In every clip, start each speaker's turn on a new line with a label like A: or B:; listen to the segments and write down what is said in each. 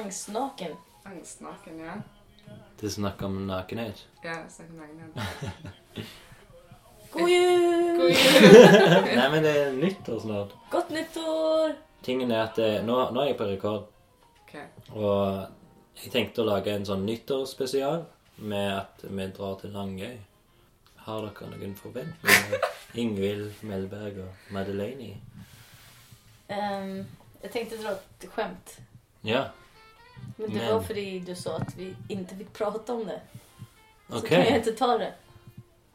A: Angstnaken.
B: Angstnaken, ja.
C: Det er snakk om nakenhet.
B: Ja, snakk om nakenhet.
A: God jul!
B: God jul!
C: Nei, men det er nyttår snart.
A: Godt nyttår!
C: Tingen er at eh, nå, nå er jeg på rekord,
B: Ok,
C: og jeg tenkte å lage en sånn nyttårsspesial med at vi drar til Langøy. Har dere noen forventninger? Ingvild Melberg og Madeleine?
A: Ehm, jeg tenkte dra ett skämt.
C: Ja,
A: Men det
C: Men.
A: var fordi du sa at vi inte fick prata om det. Så
C: ok.
A: kan jag inte ta det.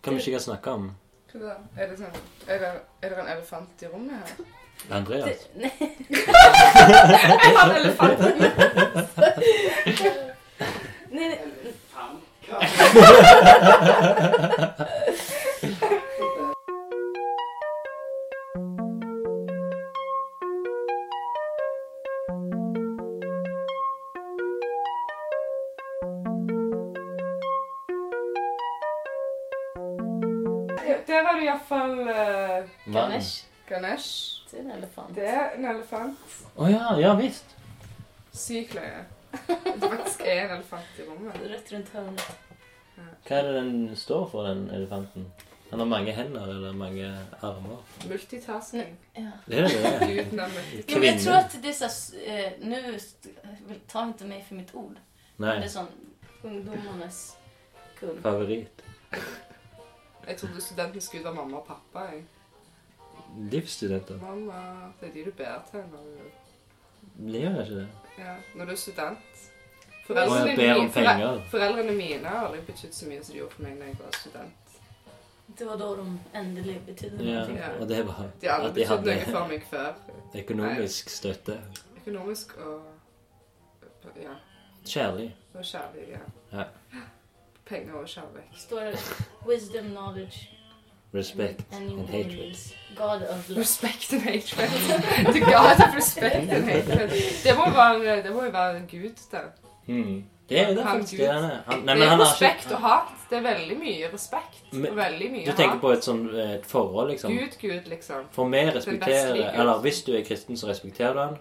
C: Kan vi ikke snakke om
B: hva da? Er det sånn Er det, er det en elefant i rommet her?
C: Andreas?
A: det nej.
B: Jeg har en elefant!
A: nej, nej.
B: Der har du iallfall uh,
C: Vann?
A: Ganesh.
B: Ganesh.
A: Det är en elefant.
B: Det er en elefant.
C: Å ja, ja visst.
B: Sykt løye. Det faktisk er en elefant i rommet.
A: Rätt runt hörnet.
C: Hva er det den står for, den elefanten? Han har mange hender eller mange armer.
B: Multitasking.
A: Ja.
C: Det er det. det er.
B: Guden av
A: Jo, men
C: Kvinnor.
A: jag tror att det är så här, s- eh, nu, st- ta inte mig för mitt ord.
C: Nei,
A: Det är sån ungdomarnas kung.
C: favoritt.
B: Jeg trodde studenten skulle være mamma og pappa. Jeg.
C: Livsstudenter.
B: Mamma, Det er de du ber til når du,
C: Blir jeg ikke det?
B: ja, når du er student.
C: Og jeg
B: mine-
C: ber om penger.
B: foreldrene mine har aldri betydd så mye som de gjorde for meg da jeg var student.
A: Det var då de ändelig betydde
C: Ja,
A: någonting.
C: og det var
B: De har
C: at
B: aldri
C: de
B: betydd
C: hadde
B: noe for meg før.
C: økonomisk støtte.
B: Økonomisk og ja,
C: Kjærlig.
B: og kjærlighet. Ja.
C: Ja.
B: Penger og kjærlighet.
A: Står det wisdom, knowledge
C: Respekt
A: and
C: and
A: human
C: hatred.
A: beings. God of love.
B: Respect and hatred. The god of respect and hatred. Det må, være, det må jo være en gud, det.
C: Hmm. Det er jo det
B: Han
C: faktisk
B: Gud.
C: det han er. Han, nei,
B: Det
C: men
B: er
C: han har
B: respekt
C: ikke
B: og hat. Det er veldig mye respekt
C: Men-
B: og veldig mye
C: Du tenker
B: hat.
C: på et sånn et forhold, liksom.
B: Gud, gud, liksom.
C: For vi
B: beste
C: respekterer
B: Gud.
C: Eller hvis du er kristen, så respekterer du han,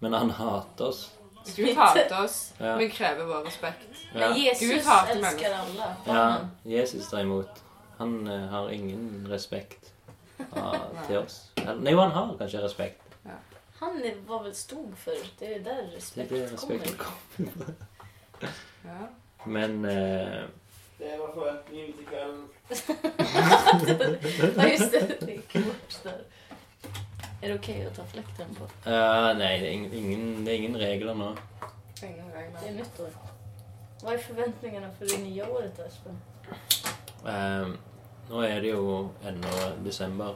C: men han hater oss.
B: Gud hater oss,
C: Ja.
B: men krever vår respekt.
C: Ja.
A: Men Jesus
B: Gud hatar
A: älskar
B: människor.
A: alla.
C: Ja, Jesus derimot, han eh, har ingen respekt av, til oss. Eller, nei, jo, han har kanskje respekt.
A: Han är- var väl stod för det är där
C: Det er
A: respekt
C: det
A: kommer.
C: respekten kommer.
B: Ja.
C: Men eh,
D: Det var forventningen til kvelden.
A: Ja just det, det gick bort där. Är det okej att ta fläkten på?
C: eh, Nei, det er ingen, ingen- det er ingen regler nå.
B: Ingen
A: Det är
B: regler.
A: nytt år. Vad är förväntningarna för det nya året Espen?
C: Eh, nå er det jo ennå desember,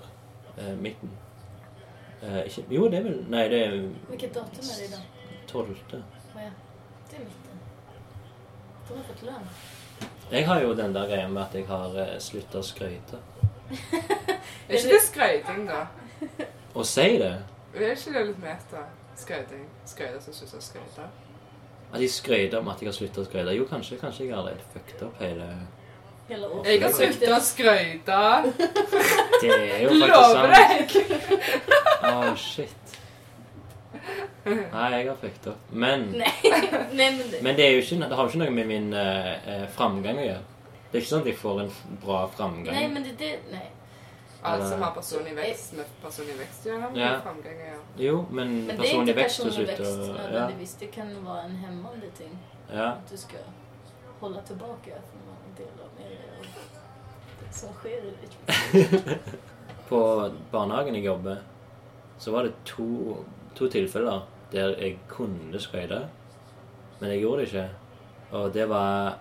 C: eh, midten. Eh, ikke, jo, det er vel Nei, det er
A: Vilket datum är det idag?
C: 12.
A: Vad är- Det är mitten. De har fått lön.
C: Jeg har jo den der greia med at jeg har uh, slutta å skryte.
B: Er ikke det skrøyting, da?
C: Å si det?
B: Er ikke det litt meta? Skrøyting. Skrøyter som slutter å skryte.
C: At jeg skryter om at jeg har slutta å skryte? Jo, kanskje, kanskje jeg har litt fucked up hele
A: Hela året.
B: Jeg har sluttet å skryte.
C: Det er jo faktisk
B: Lover
C: sant.
B: deg!
C: Åh, shit. Nei, jeg har fucked up. Men,
A: Nej men det...
C: men det, er jo ikke, det har jo ikke noe med min eh, eh, framgang å gjøre. Det er ikke sånn at jeg får en f- bra framgang.
A: Nej men det, det nej.
B: Alt som har personlig vekst med personlig vekst, gjør har mye
C: Ja.
B: framgang å gjøre.
C: Jo, men,
A: Men det är
C: personlig
A: inte
C: vekst og
A: personlig
C: slutt
A: växt
C: og ja,
A: nödvändigtvis. Det kan vara en hämmande ting.
C: ja.
A: Att du ska hålla tillbaka från någon del av med dig och det som sker i ditt liv.
C: På barnehagen jeg jobber, så var det to, to tilfeller der jeg kunne skøyte, men jeg gjorde det ikke. Og det var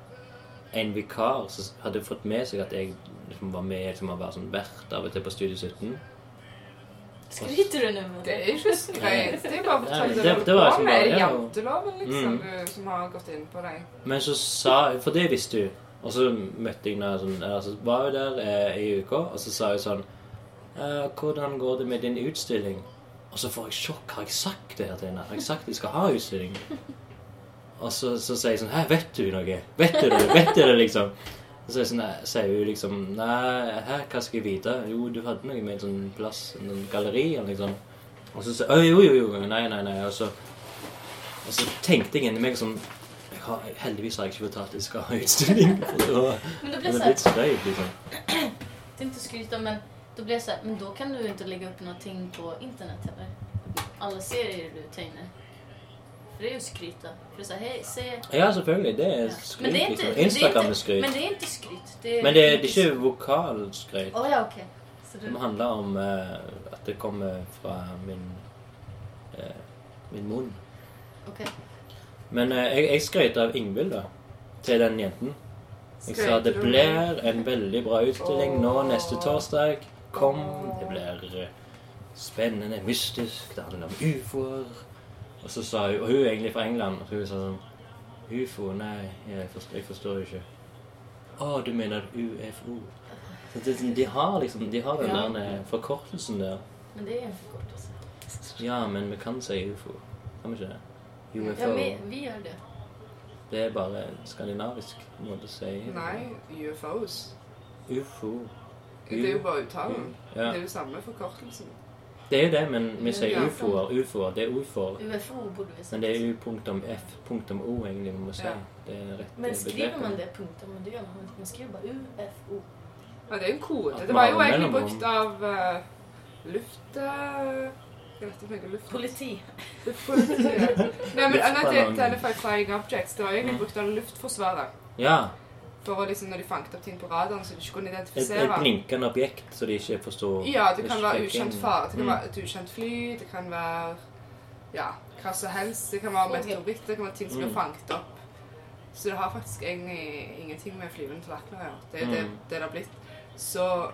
C: en vikar som hadde fått med seg at jeg liksom var med som å være sånn vert av og til på Studio 17.
A: Skryter du nu med
B: Det
A: det?
B: er ikke skrøyt. Det er bare å
C: Ja, men
B: fortelle
C: det-
B: deg
C: det
B: på
C: var som
B: med.
C: bare-
B: Er det
C: ja.
B: janteloven, liksom,
C: Mm.
B: du, som har gått inn på deg?
C: Men så sa For det visste hun. Og så møtte jeg henne sånn, eller så var hun der eh, i uka, og så sa hun sånn eh, 'Hvordan går det med din utstilling?' Og så får jeg sjokk. Har jeg sagt det her til henne? Har jeg sagt jeg skal ha utstilling? Og så, så sier jeg sånn 'Hæ, vet du noe? Vet du det? Vet du det?' liksom. Og så er jeg sånn, eh, sier hun liksom 'Nei, hæ, hva skal jeg vite?' 'Jo, du hadde noe med en sånn plass, en sånn galleri eller noe sånt.' Og så sier hun 'Jo, jo, jo, nei, nei, nei.' Og så Og så tenkte jeg inni meg sånn jeg har, Heldigvis har jeg ikke fortalt at jeg skal ha utstilling. For det var,
A: Men då
C: det
A: blir det
C: var
A: så här,
C: litt støy, liksom.
A: det är inte att skryta men då blir det så här, men då kan du inte lägga upp någonting på internet heller. Alla serier du tar inne. För det är ju skryta. För det är så här, hej, se.
C: Ja, selvfølgelig. Det er skryt.
A: Men det är inte,
C: liksom.
A: det är
C: Instagram er
A: inte, men
C: skryt.
A: det är inte skryt. Det är,
C: Men det er, det er ikke vokalskryt.
A: Åh ja, okej. Så
C: Det
A: du,
C: må handle om eh, at det kommer fra min eh, min munn.
A: okej.
C: Men eh, jeg, jeg skrøt av Ingvild, da. Til den jenten. Jeg sa det blir en veldig bra utstilling nå neste torsdag. Kom. Det blir eh, spennende, mystisk. Det handler om ufoer. Og så sa hun Og hun er egentlig fra England. Og så hun sa sånn Ufo? Nei, jeg forstår, jeg forstår ikke. Å, du mener UFO? Så det, er sånn, de har liksom De har den
E: Ja.
C: der eh, forkortelsen der.
A: Men det är en förkortelse.
C: Ja, men vi kan si ufo. Kan vi ikke det?
A: Ja,
C: UFO.
A: vi, vi gör det.
C: Det er bare en skandinavisk måte å si
B: Nei,
C: Mm.
B: UFOs.
C: ufo.
B: Det er jo bare uttalen. Det
C: Ja.
B: er jo samme forkortelsen.
C: Det er jo det, men vi sier
B: Ja.
C: ufoer. Ufoer. Det er ufoer.
A: UFO borde vi säga.
C: Men det er u.f.o egentlig vi må si.
B: Ja.
C: Det er rett
E: Men skriver
C: begrepet.
E: man det punkter, men det gör man inte. Man skriver bara UFO.
B: Ja, det er jo en kode.
C: At
B: Det var
C: man
B: jo
C: har
B: egentlig
C: mellomrom.
B: brukt av eh, luft... eh, Jeg vet ikke om jeg har luft...
E: Politi.
B: Politi. Nei, men nei, det-
C: Luftballong.
B: det er faktisk Flying Objects. Det var egentlig
C: Mm.
B: brukt av Luftforsvaret.
C: Ja.
B: For å liksom, når de fanget opp ting på radaren, så de ikke kunne
C: Et, et
B: identifisere.
C: blinkende objekt så de ikke forstår
B: Ja, det kan
C: ikke
B: være
C: fikk
B: ukjent
C: inn.
B: fare. Det kan
C: Mm.
B: være et ukjent fly. Det kan være ja, hva som helst. Det kan være meteoritter. Det kan være ting som blir
C: Mm.
B: fanget opp. Så det har faktisk egentlig ingenting med flyvende tallerkener å gjøre. Det er det,
C: Mm.
B: det det har blitt. Så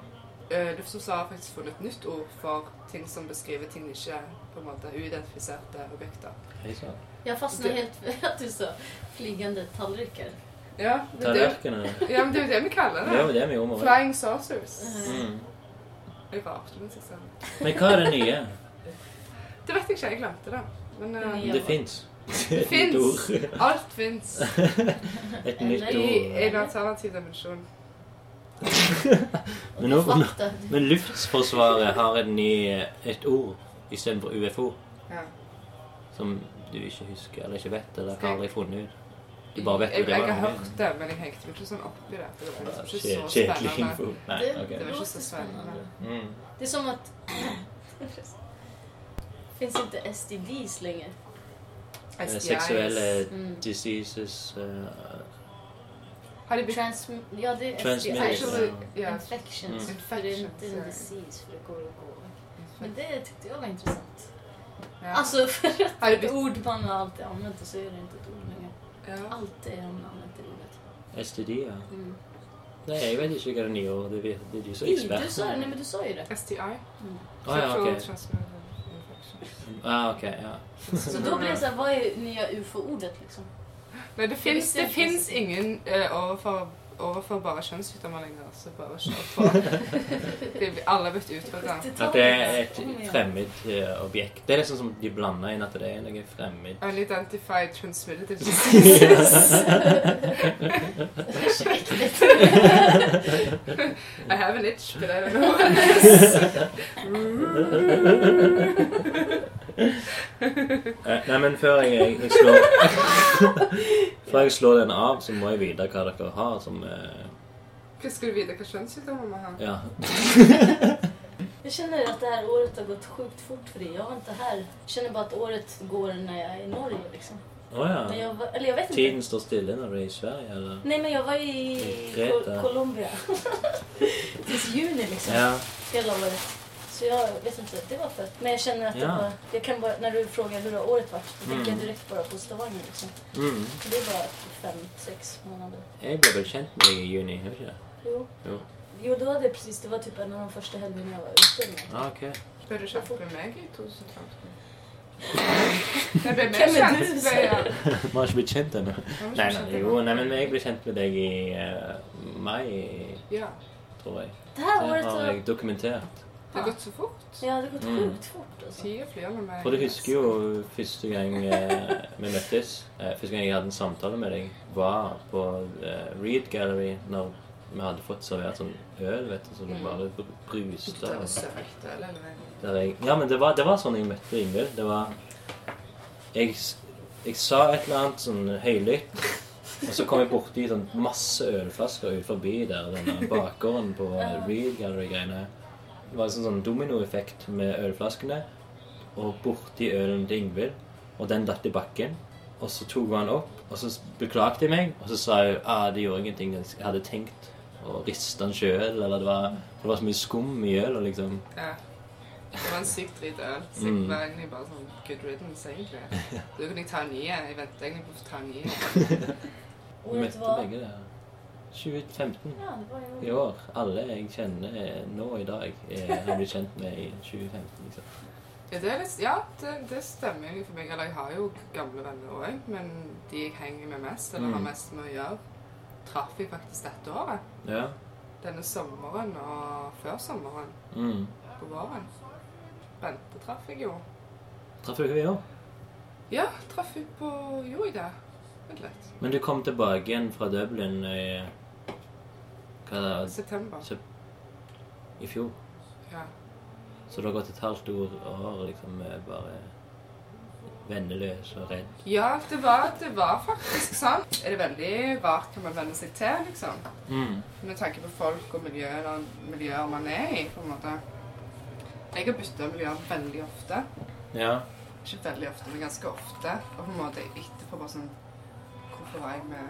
B: uh, Luftforsvaret har faktisk funnet et nytt ord for ting som beskriver ting de ikke på en måte uidentifiserte objekter.
C: Hei sann.
A: Jag fastnar
B: Det-
A: helt för att du sa flygande tallrikar.
B: Ja, det, er det,
C: Tallerkenene.
B: ja, men det er jo det vi kaller
C: Det
B: det.
C: var jo det vi gjorde med det.
B: Flying saucers.
C: Mm.
B: Det er sånn. rart, men jeg sa-
C: Men hva er det nye?
B: Det vet jeg ikke. Jeg glemte det. Men eh,
A: Ja.
C: Det fins.
B: det
C: Et nytt
B: fins.
C: ord.
B: Alt fins.
C: Et nytt
A: Eller-
B: I en
C: ord.
B: alternativ dimensjon.
C: Men nå, nå,
A: Fatta.
C: Men Luftforsvaret har en ny, et ord istedenfor UFO
B: Ja.
C: som du ikke husker eller ikke vet eller
B: Skal jeg-
C: har aldri funnet ut. Du bare vet
B: jeg,
C: jo det
B: jeg
C: var
B: har
C: noe.
B: hørt det, men jeg hengte meg ikke sånn opp i det. for Det var
C: Ah,
B: liksom
C: kje-
B: ikke så
C: Kjedelig
B: spennende.
C: info. Nei,
A: Det-
C: ok.
B: Det var ikke så
A: Låter
B: spennende.
A: spennende.
C: Mm.
A: Det är som att... Finns inte STDs längre?
C: Eh,
B: STIs.
C: Seksuelle
A: Mm.
C: diseases eh,
B: Har de begynt
A: Trans... Ja, det är
C: Transmitted.
A: STIs.
B: Actually, ja.
A: Infections.
C: Mm.
A: För det är inte en
B: Infections,
A: disease, för det går och går. Men det tyckte jag var intressant.
B: ja.
A: Alltså, för att
B: Har det
A: ett
B: blitt
A: ord man har alltid använt och så är det inte ett ord längre.
B: ja.
A: Alltid har man använt det ordet.
C: STD-er.
A: Mm.
C: Nei, jeg vet ikke hva det nye ordet er. Det er du som er
A: Jo, du
C: ekspert.
A: sa, nej, men du sa ju det. Mm.
B: STI.
C: Å Ah, ja,
B: Sexual
C: ok.
B: transmitted infection.
C: Ah, ok, ja.
A: Så då blir sånn, det så här, vad är nya ufo-ordet liksom?
B: Nei, det fins
A: visste
B: det
A: jeg ikke.
B: finnes ingen eh, overfor, overfor bare kjønnssykdommer lenger, så bare kjør på. Det- Alle er blitt utfordra.
C: At det er et fremmed eh, objekt. Det er liksom som de blander inn at det er noe fremmed.
B: Unidentified transmitted I have an itch, but I don't know what it is.
C: Eh, Nei, men før jeg, jeg, jeg slår Før jeg slår den av, så må jeg vite hva dere har som eh,
B: Hva skal du vite hva kjønnssykdommer man har?
C: Ja.
A: Jag känner att det här året har gått sjukt fort för dig. Jag var inte här. Jag känner bara att året går när jag är i Norge liksom.
C: Å
A: När
C: ja.
A: jag var, eller jag vet inte.
C: Tiden står stille når du er i Sverige, eller?
A: Nej men jag var
C: I
A: i
C: Kreta.
A: Col- Colombia. Tills juni liksom.
C: Ja.
A: Hela året. Så jag vet inte, det var fett. Men jag känner att det
C: Ja.
A: var, jag kan bara, när du frågar hur har året varit, då tänker
C: Mm.
A: jag direkt bara på Stavanger liksom.
C: Mm.
A: Så det var fem, sex månader.
C: Jeg ble vel kjent med deg i juni, gjorde jeg ikke? det?
A: Jo.
C: Jo.
A: Jo, då hade jag precis, det var typ en av de första helgerna jag var ute med.
C: Ah, ok.
B: Ble du kjent med meg i 2015? Jeg ble mer
A: Hvem er
B: kjent
A: du,
B: ble jeg.
C: Vi har ikke blitt kjent ennå.
B: Jeg var
C: Nei,
B: ikke
C: nei,
B: kjent
C: jo,
B: med
C: nei, men jeg ble kjent med deg i eh, mai,
B: meg. Ja.
C: tror jeg.
A: Det
C: Det
A: här året
C: har
A: har...
C: jeg dokumentert.
B: Det har gått så fort.
A: Ja, det har gått
C: Mm.
A: sjukt fort alltså.
B: Tida flyr med meg.
C: For du husker jo første gang eh, vi møttes, eh, første gang jeg hadde en samtale med deg, var på eh, Reed Gallery når vi hadde fått servert sånn øl, vet du, som
B: Mm.
C: bare br- bruste.
B: Det var
C: og-
B: søkt, eller?
C: Der jeg, ja, men det var, det var sånn jeg møtte Ingvild. Det var Jeg s- Jeg sa et eller annet sånn høylytt, og så kom jeg borti sånn masse ølflasker ut forbi der, den der bakgården på Real Gallery-greiene. Det var en sånn, sånn dominoeffekt med ølflaskene, og borti ølen til Ingvild, og den datt i bakken. Og så tok hun den opp, og så beklagte jeg meg, og så sa hun ah, det gjorde ingenting, jeg hadde tenkt å riste den sjøl, eller det var, det var så mye skum i øla, liksom.
B: Ja. Det var en sykt drit øl. Så jeg
C: Mm.
B: var egentlig bare sånn good riddance, egentlig. Da kunne jeg ta en nye. Jeg ventet egentlig på å få ta en nye.
C: Vi
F: Året
C: møtte
F: var
C: begge der. 2015.
F: Ja, det var jo
C: I år. Alle jeg kjenner eh, nå i dag, er- har blitt kjent med i 2015. liksom.
B: Ja, det, er litt, ja det, det stemmer egentlig for meg. Eller jeg har jo gamle venner òg, men de jeg henger med mest, eller har
C: Mm.
B: mest med å gjøre, traff jeg faktisk dette året.
C: Ja.
B: Denne sommeren og før sommeren.
C: Mm.
B: På våren. Bente traff jeg jo.
C: Traff du henne i år?
B: Ja, traff jeg på Jo, i det. Vent litt.
C: Men du kom tilbake igjen fra Dublin i hva da,
B: September.
C: i fjor.
B: Ja.
C: Så det har gått et halvt år, år liksom med bare venneløs og redd.
B: Ja, det var, det var faktisk sånn. Er det veldig rart hva man venner seg til, liksom? Med tanke på folk og miljø, eller miljøer man er i, på en måte. Jeg har bytta miljøer veldig ofte.
C: Ja.
B: Ikke veldig ofte, men ganske ofte. Og på en måte etterpå bare sånn Hvorfor var jeg med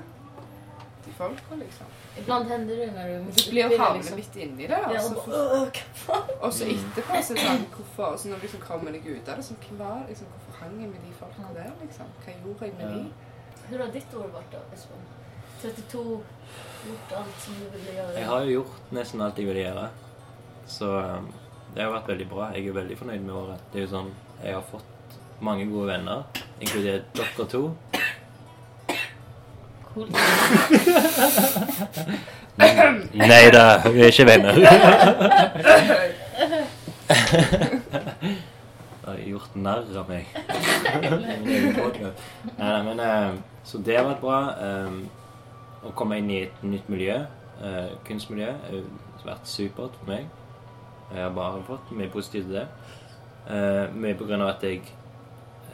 B: de folka, liksom?
A: Ibland händer det när du
B: Men Du blir jo
A: missbildar,
B: havner midt inni det.
A: Ja,
B: Og
A: og
B: så,
A: bara, "Åh, fan."
B: og så etterpå så er det sånn Hvorfor? Og så når du liksom kommer deg ut av det, så hvem var liksom, Hvorfor hang jeg med de folka der, liksom? Hva gjorde jeg med de?
A: Hur har ditt år varit då, Espen? 32, gjort allt som du ville göra.
C: Jeg har jo gjort nesten alt jeg ville gjøre. Så um, det har vært veldig bra. Jeg er veldig fornøyd med året. Det er jo sånn, Jeg har fått mange gode venner, inkludert dere to.
A: Coolt.
C: Nei da, vi er ikke venner. Du har gjort narr av meg. Nei, nei, men eh, Så det har vært bra. eh, Å komme inn i et nytt miljø, eh, kunstmiljø, har vært supert for meg. Jeg har bare fått mye positivt til det. Eh, Mye på grunn av at jeg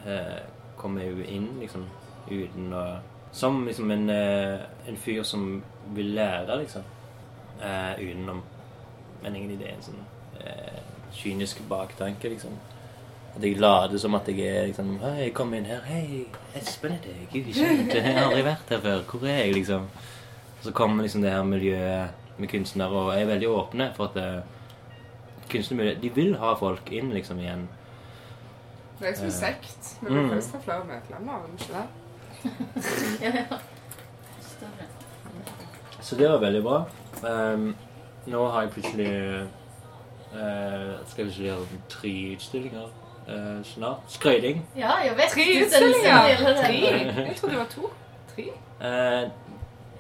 C: eh, kommer jo inn liksom uten å Som liksom en, eh, en fyr som vil lære, liksom. Eh, utenom Men egentlig det er en sånn eh, kynisk baktanke, liksom. At jeg later som at jeg er liksom Hei, jeg kom inn her. Hei, Espen er det. Gud, kjent. Jeg har aldri vært her før. Hvor er jeg, liksom? Og så kommer liksom det her miljøet med kunstnere og er veldig åpne for at eh, kunstnermiljøet De vil ha folk inn, liksom, igjen.
B: Det er som en
C: Eh.
B: sekt, men du
C: Mm.
B: kan jo få flere medlemmer. men ikke det?
A: Ja, ja. Större.
C: Så det var veldig bra. Ehm, nå har jeg plutselig eh, Skal jeg plutselig gjøre tre utstillinger eh, snart. Skrøyting.
A: Ja, jag vet.
B: Tre
A: Du är den
B: utstillingar.
A: som delar
B: Tre?
A: den.
B: Jeg trodde det var to. Tre?
C: Eh,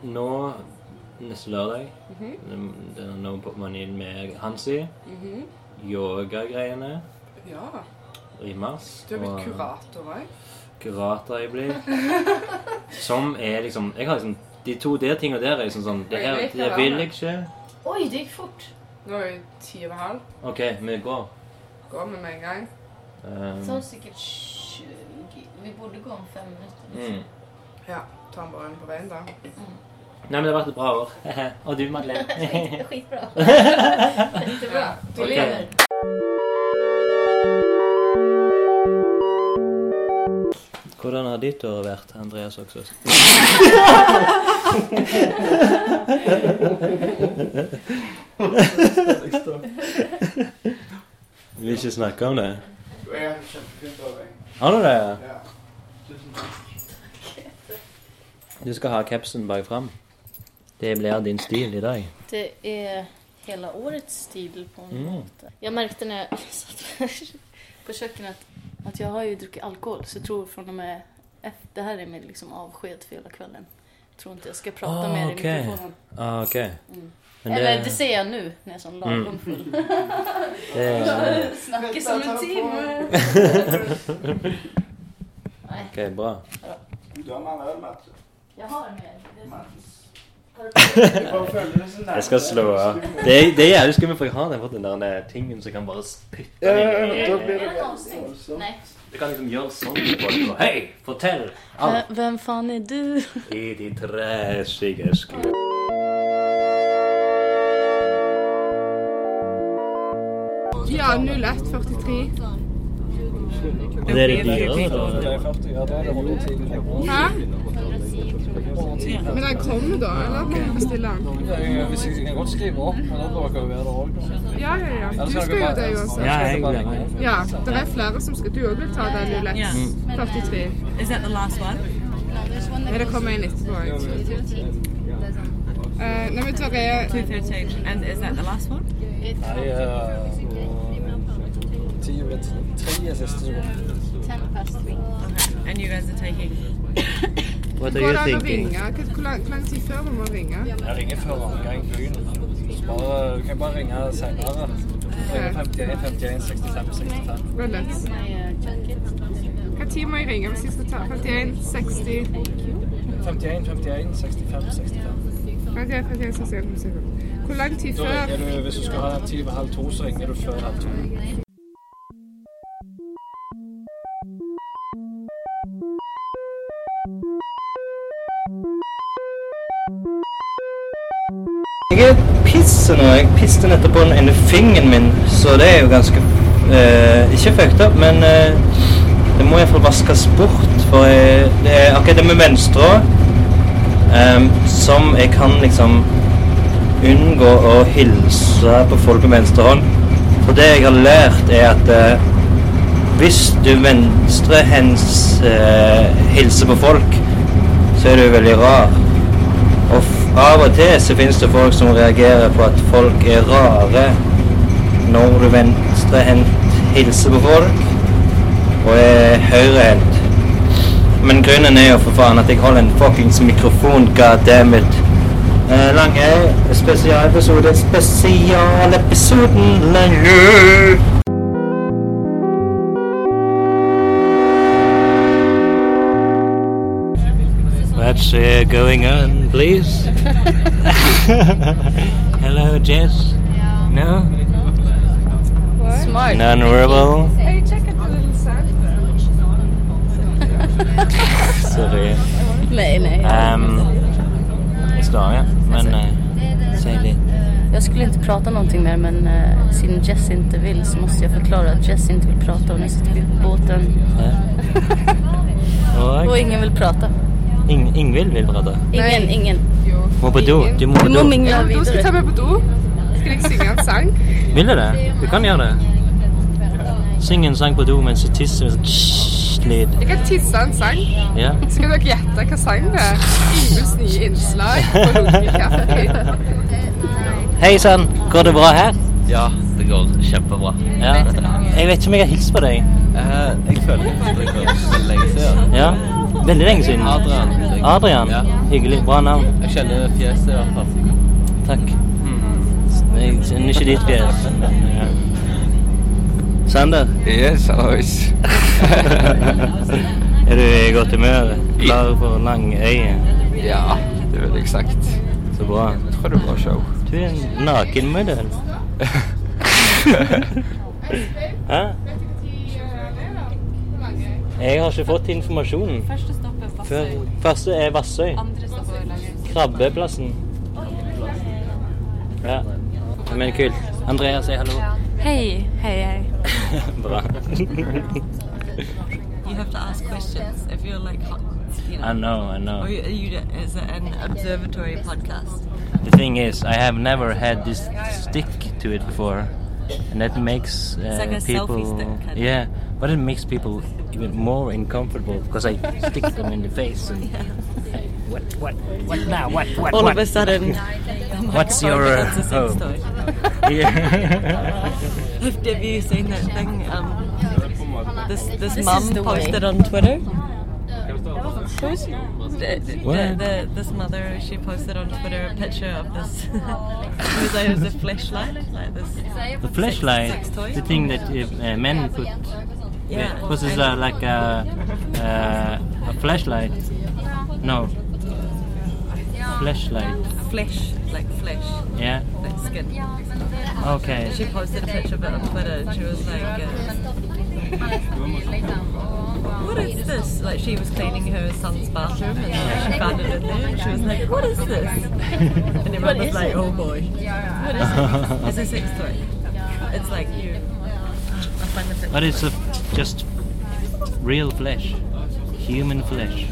C: nå neste lørdag
B: Mhm.
C: det- det er Nå popper man inn med Hansi.
B: Mhm.
C: Yogagreiene
B: Ja.
C: i mars.
B: Du har blitt
C: og
B: kurator òg.
C: Kurator jeg blir. Som er liksom Jeg har liksom De to der tingene der er liksom sånn Det her
B: Jeg vet
C: det
B: hva
C: vil
B: det
C: jeg ikke.
A: Oj, det gick fort.
B: Nå er det ti og en halv.
C: OK, vi går.
B: Gå med med en gang.
A: Det
C: Ehm,
B: Sånn
A: tar säkert 20. Vi borde gå om fem Mm. minuter. liksom.
C: mm.
B: Ja. Ta den bare inn på veien, da.
C: Nei, men det har vært et bra år. Og du, Madeleine.
A: Skit, skitbra.
B: Ja.
A: Jättebra.
B: Du
C: Ok.
B: lever.
C: Hvordan har ditt år vært, Andreas Oksås? Vi vil ikke snakke om det.
G: Jeg har et kjempefint år, jeg.
C: Har du det?
G: Ja. Tusen takk.
C: Du skal ha capsen bak fram. Det blir din stil i dag.
A: Det är hela årets stil på något
C: Mm.
A: sätt. Jag märkte när jag satt här på köket att, att jag har ju druckit alkohol så jag tror från och med efter, det här är min liksom avsked för hela kvällen. Jag tror inte jag ska prata
C: Ah,
A: mer i
C: okej.
A: mikrofonen.
C: Ah, ok.
A: Mm.
C: Men
A: Eller det
C: det,
A: säger jag nu när jag är sån
C: Mm.
A: lagom full.
C: det
A: Snackar som en timme. Nej,
C: Ok, bra.
G: Du har med en øl, Mats.
A: jag har mer. Det är sant.
G: Mats.
H: Jeg bare føler det så nærme.
C: Jeg skal slå av. Det, er- det er jævlig skummelt, for jeg har den, fått den der eh, tingen som kan bare spytte
H: Ja, ja,
C: den
H: ja,
C: inn
H: da
C: i-
H: blir det
A: Er det avstengt?
H: voldsomt.
A: Nej.
C: Du kan liksom gjøre sånn til folk. og, Hei, fortell alt
A: Vem fan är du?
C: i de trasige skuene.
B: Ja, 0143.
C: Det er altså. det dyrere, da.
B: Hæ? Men den kommer da, eller kan vi bestille den?
I: Hvis jeg kan godt skrive opp, men da bør jeg jo være der òg.
B: Ja, ja, ja. Du skal jo det uansett.
C: Ja, jeg glemmer.
B: Ja, det er flere som skal. Du òg vil ta den 0143.
J: Is that the last one?
B: Ja, det kommer inn etterpå. jeg. Eh, Nei, men Toré
J: 213. And is that the last one?
I: Nei, eh, ti over t- tre er siste som går.
J: Okay. And you guys are taking.
C: What are
B: Går
C: you
B: det an å
C: thinking?
B: ringe? Hva- Hvor lang, hvor lang tid før vi må ringe?
I: Jeg ringer før omgang i byen. Så bare, du kan bare ringe senere. Ringe 51 51 65 65.
B: Vent litt. Hva tid må jeg ringe hvis jeg skal ta 51, 60
I: 51 51 65 65.
B: 51, 51, 61, 61. Hvor lang tid
I: Da
B: før?
I: ringer du, hvis du skal ha den ti over halv to, så ringer du før halv to.
C: Jeg pisser nå. Jeg pisser nettopp på den ene fingeren min, så det er jo ganske eh, Ikke fucked up, men eh, det må iallfall vaskes bort. For jeg, det er akkurat det med venstre um, som jeg kan liksom unngå å hilse på folk med venstre hånd. For det jeg har lært, er at eh, hvis du venstrehends eh, hilser på folk, så er du veldig rar. Og f- av og til så finnes det folk som reagerer på at folk er rare når du venstrehendt hilser på folk, og er høyrehendt. Men grunnen er jo for faen at jeg holder en fuckings mikrofon, goddammit. Eh, lange spesialepisode, spesialepisoden er. lange. What's uh, going on, please? Hello, Jess. No?
A: Smart.
C: Non-verbal.
B: Hey, check it a little sample.
C: Sorry.
A: Nej, nej.
C: Um, jeg står ja, men eh, si litt.
A: Jag skulle inte prata någonting mer men eh, siden Jess inte vill så måste jag förklara att Jess inte vill prata och nu sitter vi på båten
C: Ja.
A: och
C: Og
A: ingen vill prata.
C: Ing Ingvild vil prate.
A: Ingen, ingen.
B: Jo.
C: Må på do. Du må på
A: Du må
C: do.
A: mingla
B: Ja, da skal jeg ta
A: vidare.
B: meg på do. Skal jeg synge en sang?
C: Vil du det? Du kan gjøre det. Syng en sang på do mens du tisser. Sånn tss lyd.
B: Jeg kan tisse en sang.
C: Ja.
B: Skal dere gjette hva sang det er? Ingvilds nye innslag på Lunge Kaffe.
C: Hei sann, går det bra her?
K: Ja, det går kjempebra.
C: Ja. Jeg vet ikke om jeg har hilst på deg.
K: Eh, jeg føler at det går så lenge siden.
C: Ja. Veldig lenge siden.
K: Adrian. heter jeg.
C: Adrian.
K: Ja.
C: Hyggelig. Bra navn.
K: Jeg kjenner fjeset i hvert fall.
C: Takk. Jeg kjenner ikke ditt fjes. men, ja. Sander.
K: Yes, hallois.
C: Er du i godt humør? Klar for Langøya?
K: ja, det vil jeg sagt.
C: Så bra.
K: Jeg tror det var show.
C: Du er en nakenmodell. Hæ?
B: eh,
C: Jeg har ikke fått informasjonen.
J: Første stopp er
C: Før. Første er Vassøy.
J: Andre stopp er Langhus.
C: Krabbeplassen. Ja. Men kult. Andrea, si hallo.
J: Hei, hei, hei.
C: Bra.
J: You have to ask questions if you're like hot. You
C: I
J: know.
C: know, I know.
J: Or you, you, is it an observatory podcast?
C: The thing is, I have never had this stick to it before, and that makes uh,
J: like a selfie
C: people
J: stick, kind of.
C: yeah, but it makes people even more uncomfortable because I stick them in the face and Hey, what what what now what what
J: All
C: what?
J: of a sudden, Oh
C: What's your uh,
J: It's a sex
C: oh.
J: toy.
C: Yeah.
J: Have have you seen that thing? Um, this this,
A: is
J: mum
A: the way.
J: posted on Twitter. The- the-
C: What?
J: the- this mother she posted on Twitter a picture of this. it was like it was a flashlight, like this.
C: the flashlight,
J: Sex toy?
C: the thing that uh, uh, men put.
J: Yeah.
C: What is uh, like a uh, a flashlight? No. flashlight?
J: Flesh, like flesh,
C: Yeah.
J: like skin.
C: Okay.
J: She posted a picture of it on Twitter and she was uh, like, uh, What is this? Like, she was cleaning her son's bathroom and then she found it in there and she was like, What is this? And everyone was like, Oh boy. What is it? It's a sex toy. It's like you. I find the picture.
C: But it's a, just real flesh, human flesh.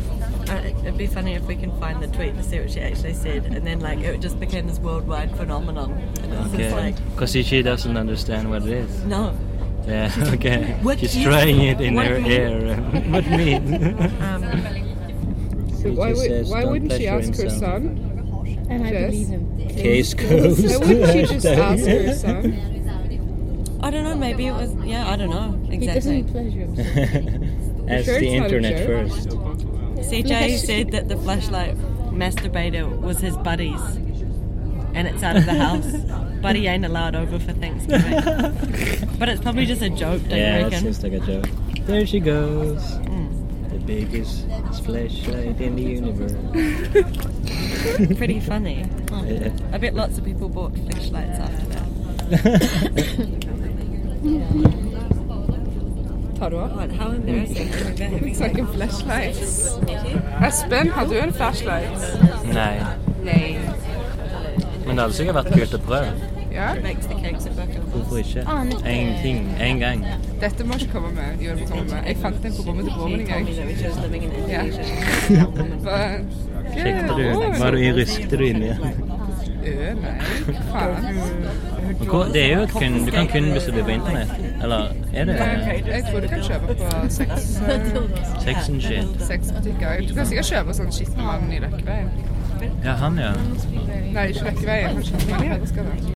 J: Uh, it'd be funny if we can find the tweet to see what she actually said, and then like it just became this worldwide phenomenon, and it's just
C: Okay.
J: like
C: Because she doesn't understand what it is.
J: no.
C: Yeah. Okay.
J: What
C: She's
J: is-
C: trying it in
J: what
C: her
J: meat?
C: ear. what meat?
J: Um,
B: So why,
L: just
B: would,
L: says,
B: why
L: "Don't
B: wouldn't she
L: pleasure
B: ask her
L: himself."
B: son?
M: And I
B: Yes.
M: believe him.
L: Case closed.
B: Why wouldn't she just ask her son?
J: I don't know. Maybe it was. Yeah, I don't know
M: He
J: exactly.
M: doesn't pleasure himself.
C: As
B: Sure it's not a
C: the internet
B: joke?
C: first.
J: CJ said that the flashlight masturbator was his buddy's, and it's out of the house. Buddy ain't allowed over for Thanksgiving, but it's probably just a joke. Don't you
C: Yeah, it's
J: reckon?
C: just like a joke. There she goes.
J: Mm.
C: The biggest flashlight in the universe.
J: Pretty funny. I bet lots of people bought flashlights after that.
B: Tar du av?
J: God, how embarrassing!
B: Snakker flashlights. Espen, har du en flashlight?
C: Nei.
B: Nei.
C: Men det hadde sikkert vært kult å prøve.
B: Ja?
J: Bakes the cakes at Buckingham.
C: Hvorfor ikke?
J: Ah,
C: Én ting. Én gang.
B: Dette må ikke komme med. Jo, det må komme med. Jeg fant den på rommet til broren min en gang.
J: that we chose living in
B: Indonesia. Hva- Hva
C: Sjekket du?
B: Å,
C: Var du i rusket du inni?
B: Ø, nei. Faen.
C: Det er jo et kun, Du kan kun bestille på internett. Eller er det
B: Jeg jeg tror du kan kjøpe på sex, eh,
C: sex and shit?
B: sexbutikker. Du kan sikkert kjøpe sånn skitten mann i Løkkeveien.
C: Ja, han, ja.
I: Mm.
B: Nei, ikke Løkkeveien, men skitten mann i Høgskavet.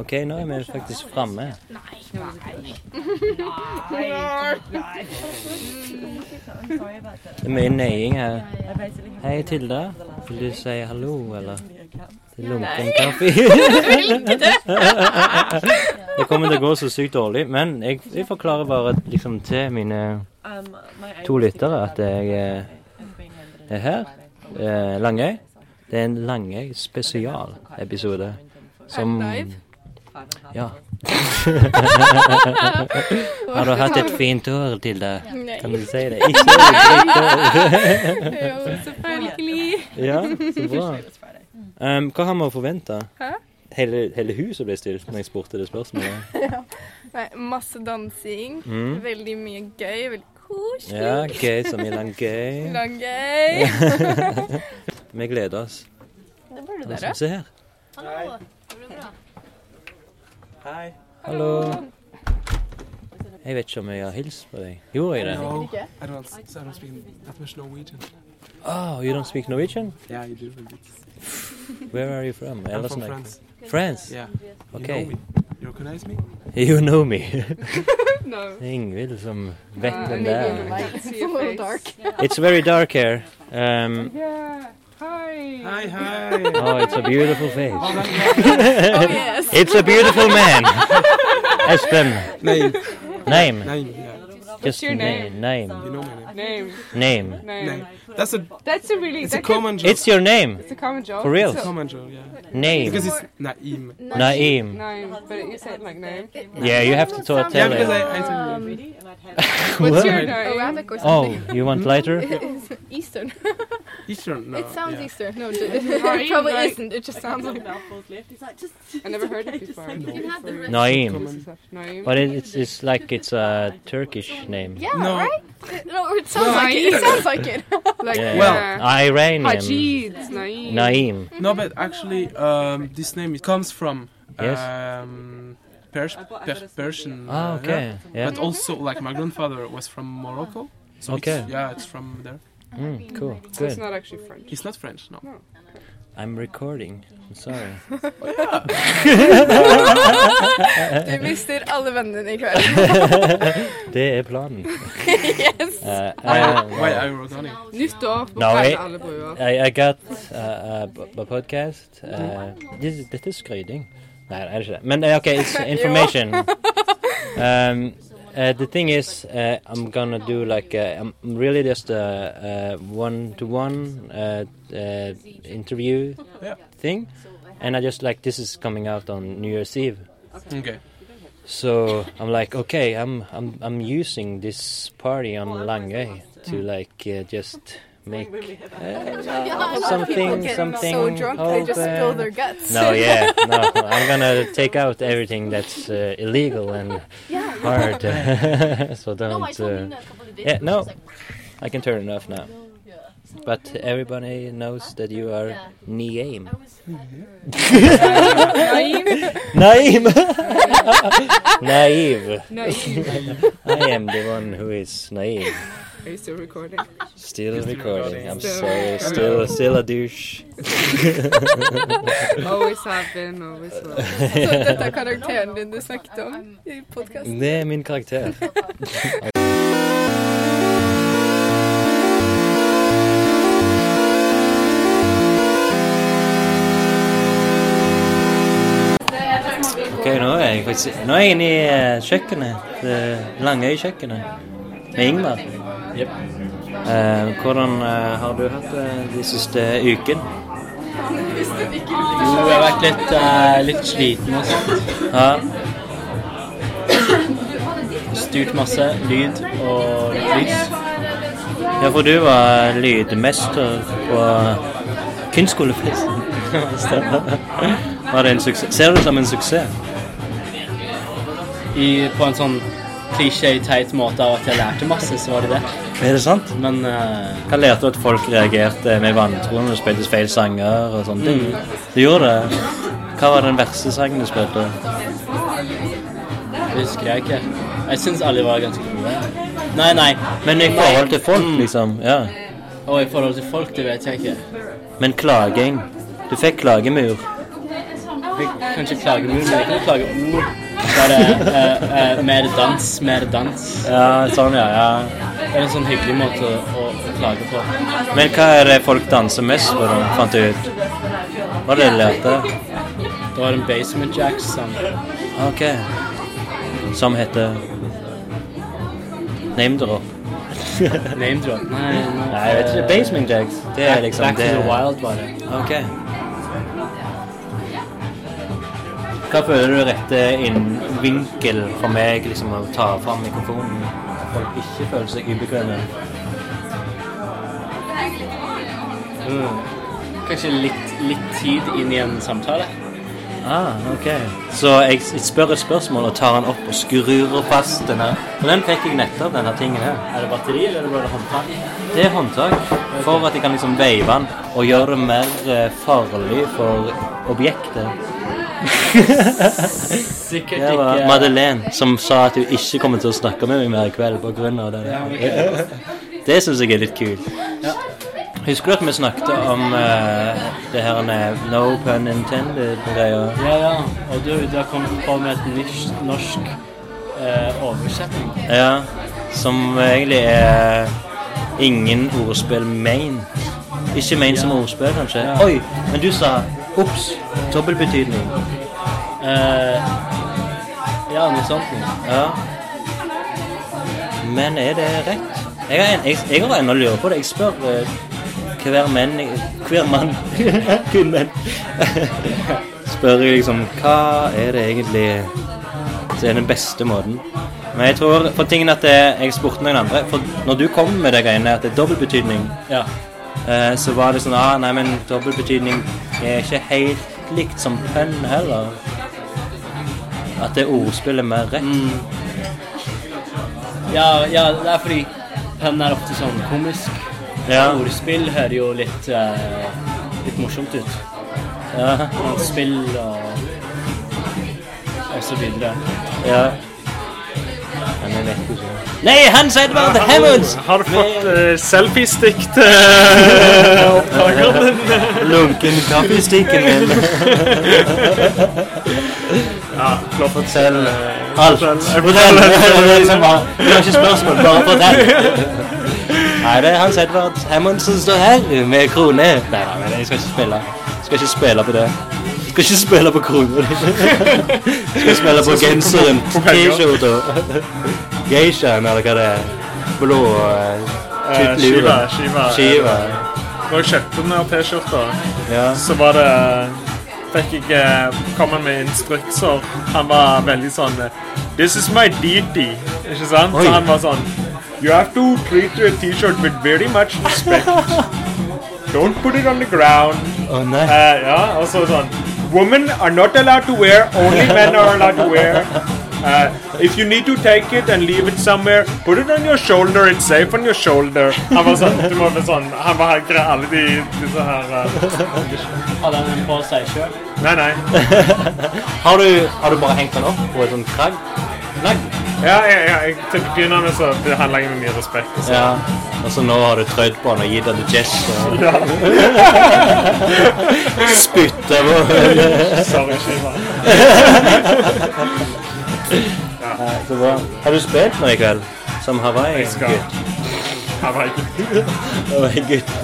C: OK, nå er vi faktisk framme.
J: Sorry about that.
C: Det er mye nøying her.
J: I basically have
C: Hei, Tilda. Vil du si hallo, eller?
J: a million accounts.
C: Til lunken kaffe. det kommer til å gå så sykt dårlig, men jeg, jeg forklarer bare liksom til mine
J: Um, my
C: to
J: agency
C: lyttere at jeg eh,
J: has been handed in
C: er her. Eh, Langøy. Det er en Langøy spesialepisode som
J: five and a half
C: Ja.
J: hours.
C: Har du hatt et fint år, Tilda? Kan du si det? Ikke et dritt år. Ja, så bra. Um, hva har vi å forvente? Hele, hele huset ble stilt når jeg spurte det spørsmålet.
I: Nei, masse dansing.
C: Mm.
I: Veldig mye gøy. Veldig koselig.
C: Ja, gøy som i Langøy.
I: Lang gøy.
C: Vi gleder oss.
I: Det burde
C: Hva
I: dere.
C: skal vi se her?
A: Hallå, går det bra?
N: Hei.
C: Hallo. Jeg vet ikke om jeg har hilst på deg. Gjorde jeg det?
N: No, I don't, I don't speak that much Norwegian.
C: Oh, you don't speak Norwegian?
N: Yeah, you do. a bit.
C: Where are you from?
N: I'm
C: Eller
N: from
C: sånn, like-
N: France.
C: France?
N: Yeah.
C: Okay.
N: You know me. You recognize me?
C: You know me.
B: No.
C: Det er Ingvild som vet
B: Nei, jeg
C: hvem det
B: vil
C: er.
B: ikke si face.
C: It's very dark here. Um,
B: Yeah. Hi.
N: Hi, hi.
C: oh, it's a beautiful face.
I: Oh, yes.
C: It's a beautiful man. Espen.
N: Name.
C: Name.
N: Name. Yeah.
C: Just
B: your name?
C: name. Name.
N: You know my name.
B: Name.
C: Name.
B: Name.
N: Name. That's a.
B: That's a really.
N: It's a
B: that could-
N: common joke.
C: It's your name.
B: It's a common joke.
C: For real?
B: It's a
N: common joke. Yeah.
C: Name.
N: Because it's Naim.
C: Naim.
B: name, but you say it like name.
C: Yeah, you have to sort of
N: Yeah,
C: tell
N: because
C: it.
N: I. I said your name.
B: What's your
C: What?
B: name?
I: Arabic or
C: Oh,
I: something.
C: you want lighter?
I: Eastern.
N: Eastern. No.
I: It sounds
N: yeah.
I: Eastern. No, it probably
B: like-
I: isn't. It just sounds like
B: I never heard it before.
A: You have the rest.
C: Naim.
N: Common.
B: Naim.
C: But it, it's, it's like it's a Turkish name.
I: Yeah,
N: No.
I: right? It- No, it sounds like it. It sounds like it.
B: Like
C: Yeah.
N: Well,
B: yeah.
C: Iranian.
B: Hajid. Naim.
C: Naim.
N: No, but actually, um, this name it comes from
C: Yes.
N: um, Pers- per- Persian.
C: Ah,
N: uh,
C: okay.
N: yeah.
C: Yeah.
N: But also, like my grandfather was from Morocco. So
C: Okay.
N: It's, yeah, it's from there.
C: Mm, cool.
B: So it's
C: Good.
B: not actually French.
N: It's not French. No.
C: I'm recording. I'm sorry.
I: Du mister alle vennene dine i kveld.
C: Det er planen.
I: Yes.
C: Uh,
N: Why,
C: uh,
N: why are you recording?
B: Nytt år på
C: Nei.
B: Perle alle bruer.
C: uh, I, I got a, a, podcast. Uh, this, dette er skryting. Nei, det er ikke det. Men eh, OK, it's information. Um, uh, the thing is, uh, I'm gonna do like uh, I'm really just a one-to-one uh, uh, interview
N: Yeah.
C: thing, and I just like this is coming out on New Year's Eve.
N: Okay.
C: So I'm like, okay, I'm I'm I'm using this party on Langøy to like uh, just make uh, something something
I: so drunk they just
C: open.
I: spill their guts.
C: No, yeah, no. I'm gonna take out everything that's uh, illegal and
I: Yeah.
C: hard. so
I: No, I
C: don't.
I: told
C: uh,
I: Nina a couple of days
C: yeah,
I: ago,
C: no.
I: she's like-
C: I can turn it off now. But everybody knows that you are Niaim.
I: Naim?
C: Naim. naive.
B: Naive.
C: I am the one who is naive.
B: Are you still recording?
C: Still recording. I'm
B: Still
C: sorry.
B: recording.
C: Still, still a douche.
B: always have been, always will.
I: Så dette er karakteren din du snakket om i podkasten?
C: Det er min karakter. Ok, nå er jeg faktisk Nå er jeg inne i eh, kjøkkenet. Det Langøy-kjøkkenet. Med Ingmar. Eh, hvordan eh, har du hatt det de siste uken?
N: Jo, jeg har vært litt, eh, litt sliten og sånt.
C: Ja.
N: Styrt masse lyd og lys.
C: Ja, for du var lydmester på kunstskolefesten. Stemmer. Var det en suksess? Ser du det som en suksess?
N: I, på en sånn klisjé-teit måte av at jeg lærte masse, så var det det.
C: Er det sant?
N: Men
C: eh, Hva lærte du at folk reagerte med vantro når du spilte feil sanger og sånne ting?
N: Mm.
C: Du gjorde det. Hva var den verste sangen du spilte?
N: Det husker jeg ikke. Jeg syns alle var ganske gode. Nei, nei.
C: Men i
N: Nei.
C: forhold til folk, liksom. Ja.
N: Og i forhold til folk, det vet jeg ikke.
C: Men klaging. Du fikk klagemur.
N: Vi kan ikke klage mye, men vi kan klage ord. Bare eh, eh, mer dans, mer dans.
C: Ja, sånn, ja. ja.
N: Det er en sånn hyggelig måte å, å, å klage på.
C: Men hva er det folk danser mest på, da? Fant du ut? Hva er det du lærte?
N: Det var en Basement Jacks-sang.
C: Ok. Som heter Name drop.
N: Name drop? Nei, nei.
C: Nei, jeg vet ikke. Basement Jacks. Det er
N: Back-
C: liksom
N: Back to
C: det.
N: the Wild var det.
C: Ok. Hva føler du er rette inn vinkel for meg liksom å ta fram mikrofonen? At Folk ikke føler seg ubekvemme.
N: Mm. Kanskje litt, litt tid inn i en samtale?
C: Ah, ok. Så jeg s- spør et spørsmål og tar den opp og skrur fast den her. Men den fikk jeg nettopp, denne tingen her.
N: Er det batteri, eller er det bare håndtak?
C: Det er håndtak for at jeg kan liksom veive den og gjøre det mer eh, farlig for objektet.
N: Sikkert
C: Det var
N: ikke-
C: Madeleine som sa at hun ikke kommer til å snakke med meg mer i kveld pga. det. der. Det syns jeg er litt kult. Husker du at vi snakket om eh, det her med no pun intended-greier?
N: Ja, ja. Og du, du har kommet på med et nysk, norsk eh, oversetting.
C: Ja, som egentlig er ingen ordspill main. Ikke main som ordspill, kanskje.
N: Ja.
C: Oi, men du sa ops. Dobbeltbetydning.
N: ja, noe sånt noe.
C: Ja. Men er det rett? Jeg har, en, jeg, jeg har ennå lurt på det. Jeg spør eh, hver menn Hver mann. Kun menn. spør jeg liksom Hva er det egentlig som er den beste måten? Men jeg tror for tingen at det, jeg spurte noen andre For når du kom med det greiene at det er dobbeltbetydning,
N: Ja.
C: eh, så var det sånn ah, Nei, men dobbeltbetydning er ikke helt likt som pønn heller. At det ordspillet er mer rett.
N: Mm. ja. Ja, det er fordi pønn er ofte sånn komisk.
C: Ja.
N: Ordspill hører jo litt, eh, litt morsomt ut.
C: Ja.
N: Sånn Spill og, og så videre.
C: Ja. Men jeg vet ikke. Nei, Hans Edvard
O: Ja,
C: Hammonds!
O: Har du fått eh, selfiestick til eh, opptakeren din?
C: Lunken kaffestikken min.
O: ja, klar for
C: Fortell alt.
O: fortell. Jeg
C: Fortell.
O: forteller.
C: Det var liksom bare- det var ikke spørsmål, bare fortell. Nei, det er Hans Edvard Hammond som står her med krone. Nei, nei, nei, jeg skal ikke spille. Jeg skal ikke spille på det. Skal ikke spille på krona di. Skal spille på
O: Sånn som
C: genseren.
O: på- på penger.
C: T-skjorta. Geishaen, eller hva det er. Blå eh,
O: Eh,
C: tykk lue.
O: Shiva, Shiva.
C: Shiva. eh,
O: Når jeg kjøpte den her T-skjorta,
C: Ja.
O: så var det Fikk jeg eh, kom han med instrukser. Han var veldig sånn eh, This is my deity. Ikke sant?
C: Oi.
O: Så han var sånn You have to treat your T-shirt with very much respect. Don't put it on the ground.
C: Å, nei.
O: Eh, ja, og så sånn Women are not allowed to wear, only men are allowed to wear. Uh, if you need to take it and leave it somewhere, put it on your shoulder, it's safe on your shoulder. Han var sånn, du må være sånn, han var her, alle de, disse her... eh,
P: Hadde han den på seg sjøl?
O: Nei, nei.
C: har, du, har du bare hengt den opp på et sånt kragg? Knagg?
O: Ja, ja, ja, jeg, til å begynne med så handler jeg med mye respekt. og sånn.
C: Ja. Og så nå har du trødd på den og gitt den til Jess. og-
O: Ja.
C: Spytta på den.
O: Sorry, Shiva.
C: Nei, Så bra. Har du spilt noe i kveld? Som Hawaii?
O: Jeg skal. Han var ikke...
C: Hawaii-gutt.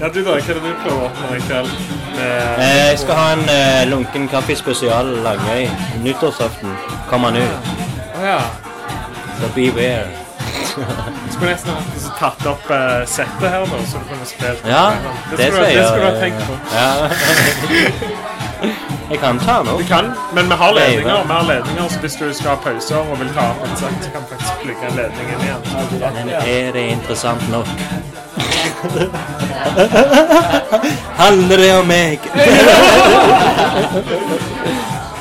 O: Ja, du da, hva er det du prøver å oppnå i kveld? Med-
C: Eh, Jeg skal ha en eh, lunken kaffespesial Langøy. Nyttårsaften kommer han ut.
O: Å ja.
C: Så beware.
O: Skulle nesten hatt så tatt opp eh, settet her, da, så du kunne spilt.
C: Ja, det
O: skulle du-
C: skal jeg
O: Det skulle du ha
C: gjøre.
O: tenkt på.
C: Ja. Jeg kan ta den opp.
O: Du kan, men vi har
C: Det er jo
O: ledninger.
C: bra.
O: Vi har ledninger, så hvis du skal ha pauser og vil ta opp en sak, så kan du faktisk plugge en ledning inn igjen.
C: Men er det interessant nok? Handler det om meg?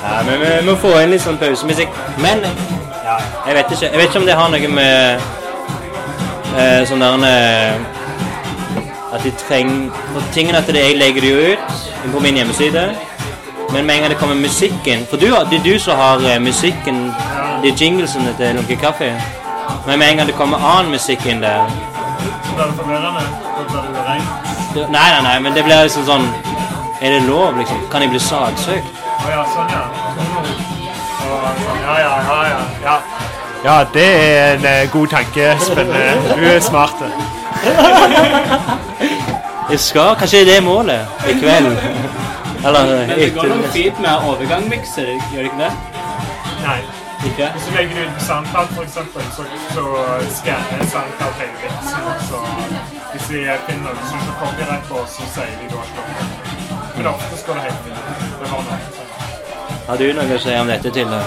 C: ja, men vi må få inn litt sånn pausemusikk. Men ja, jeg vet ikke Jeg vet ikke om det har noe med eh, sånn der eh, At de trenger For tingen at det jeg legger det jo ut inn på min hjemmeside. Men med en gang det kommer musikken For du, har- det er du som har eh, musikken De jinglesene til Lunke Kaffe. Men med en gang det kommer annen musikk inn der
O: Så blir det forvirrende. Da blir det ureint.
C: det- Nei, nei, nei, men det blir liksom sånn Er det lov, liksom? Kan jeg bli saksøkt?
O: Å ja, sånn, ja. Og sånn, Ja, ja, ja, ja. ja.
D: Ja, det er en eh, god tanke, Spenne. Du er smart.
C: Eh, Jeg skal Kanskje det er målet i kveld? Eller
P: Men det går
C: etter
P: nok fint med overgangmikser, gjør det ikke det?
O: Nei.
P: Ikke?
O: Hvis du legger det ut på SoundCloud, for eksempel, så, så skanner SoundCloud hele vitsen. og Så hvis vi finner noe som skal copyright på oss, så sier de da ikke noe. Men ofte skal det helt fint. Det var noe.
C: Har du noe å si om dette, Tilde?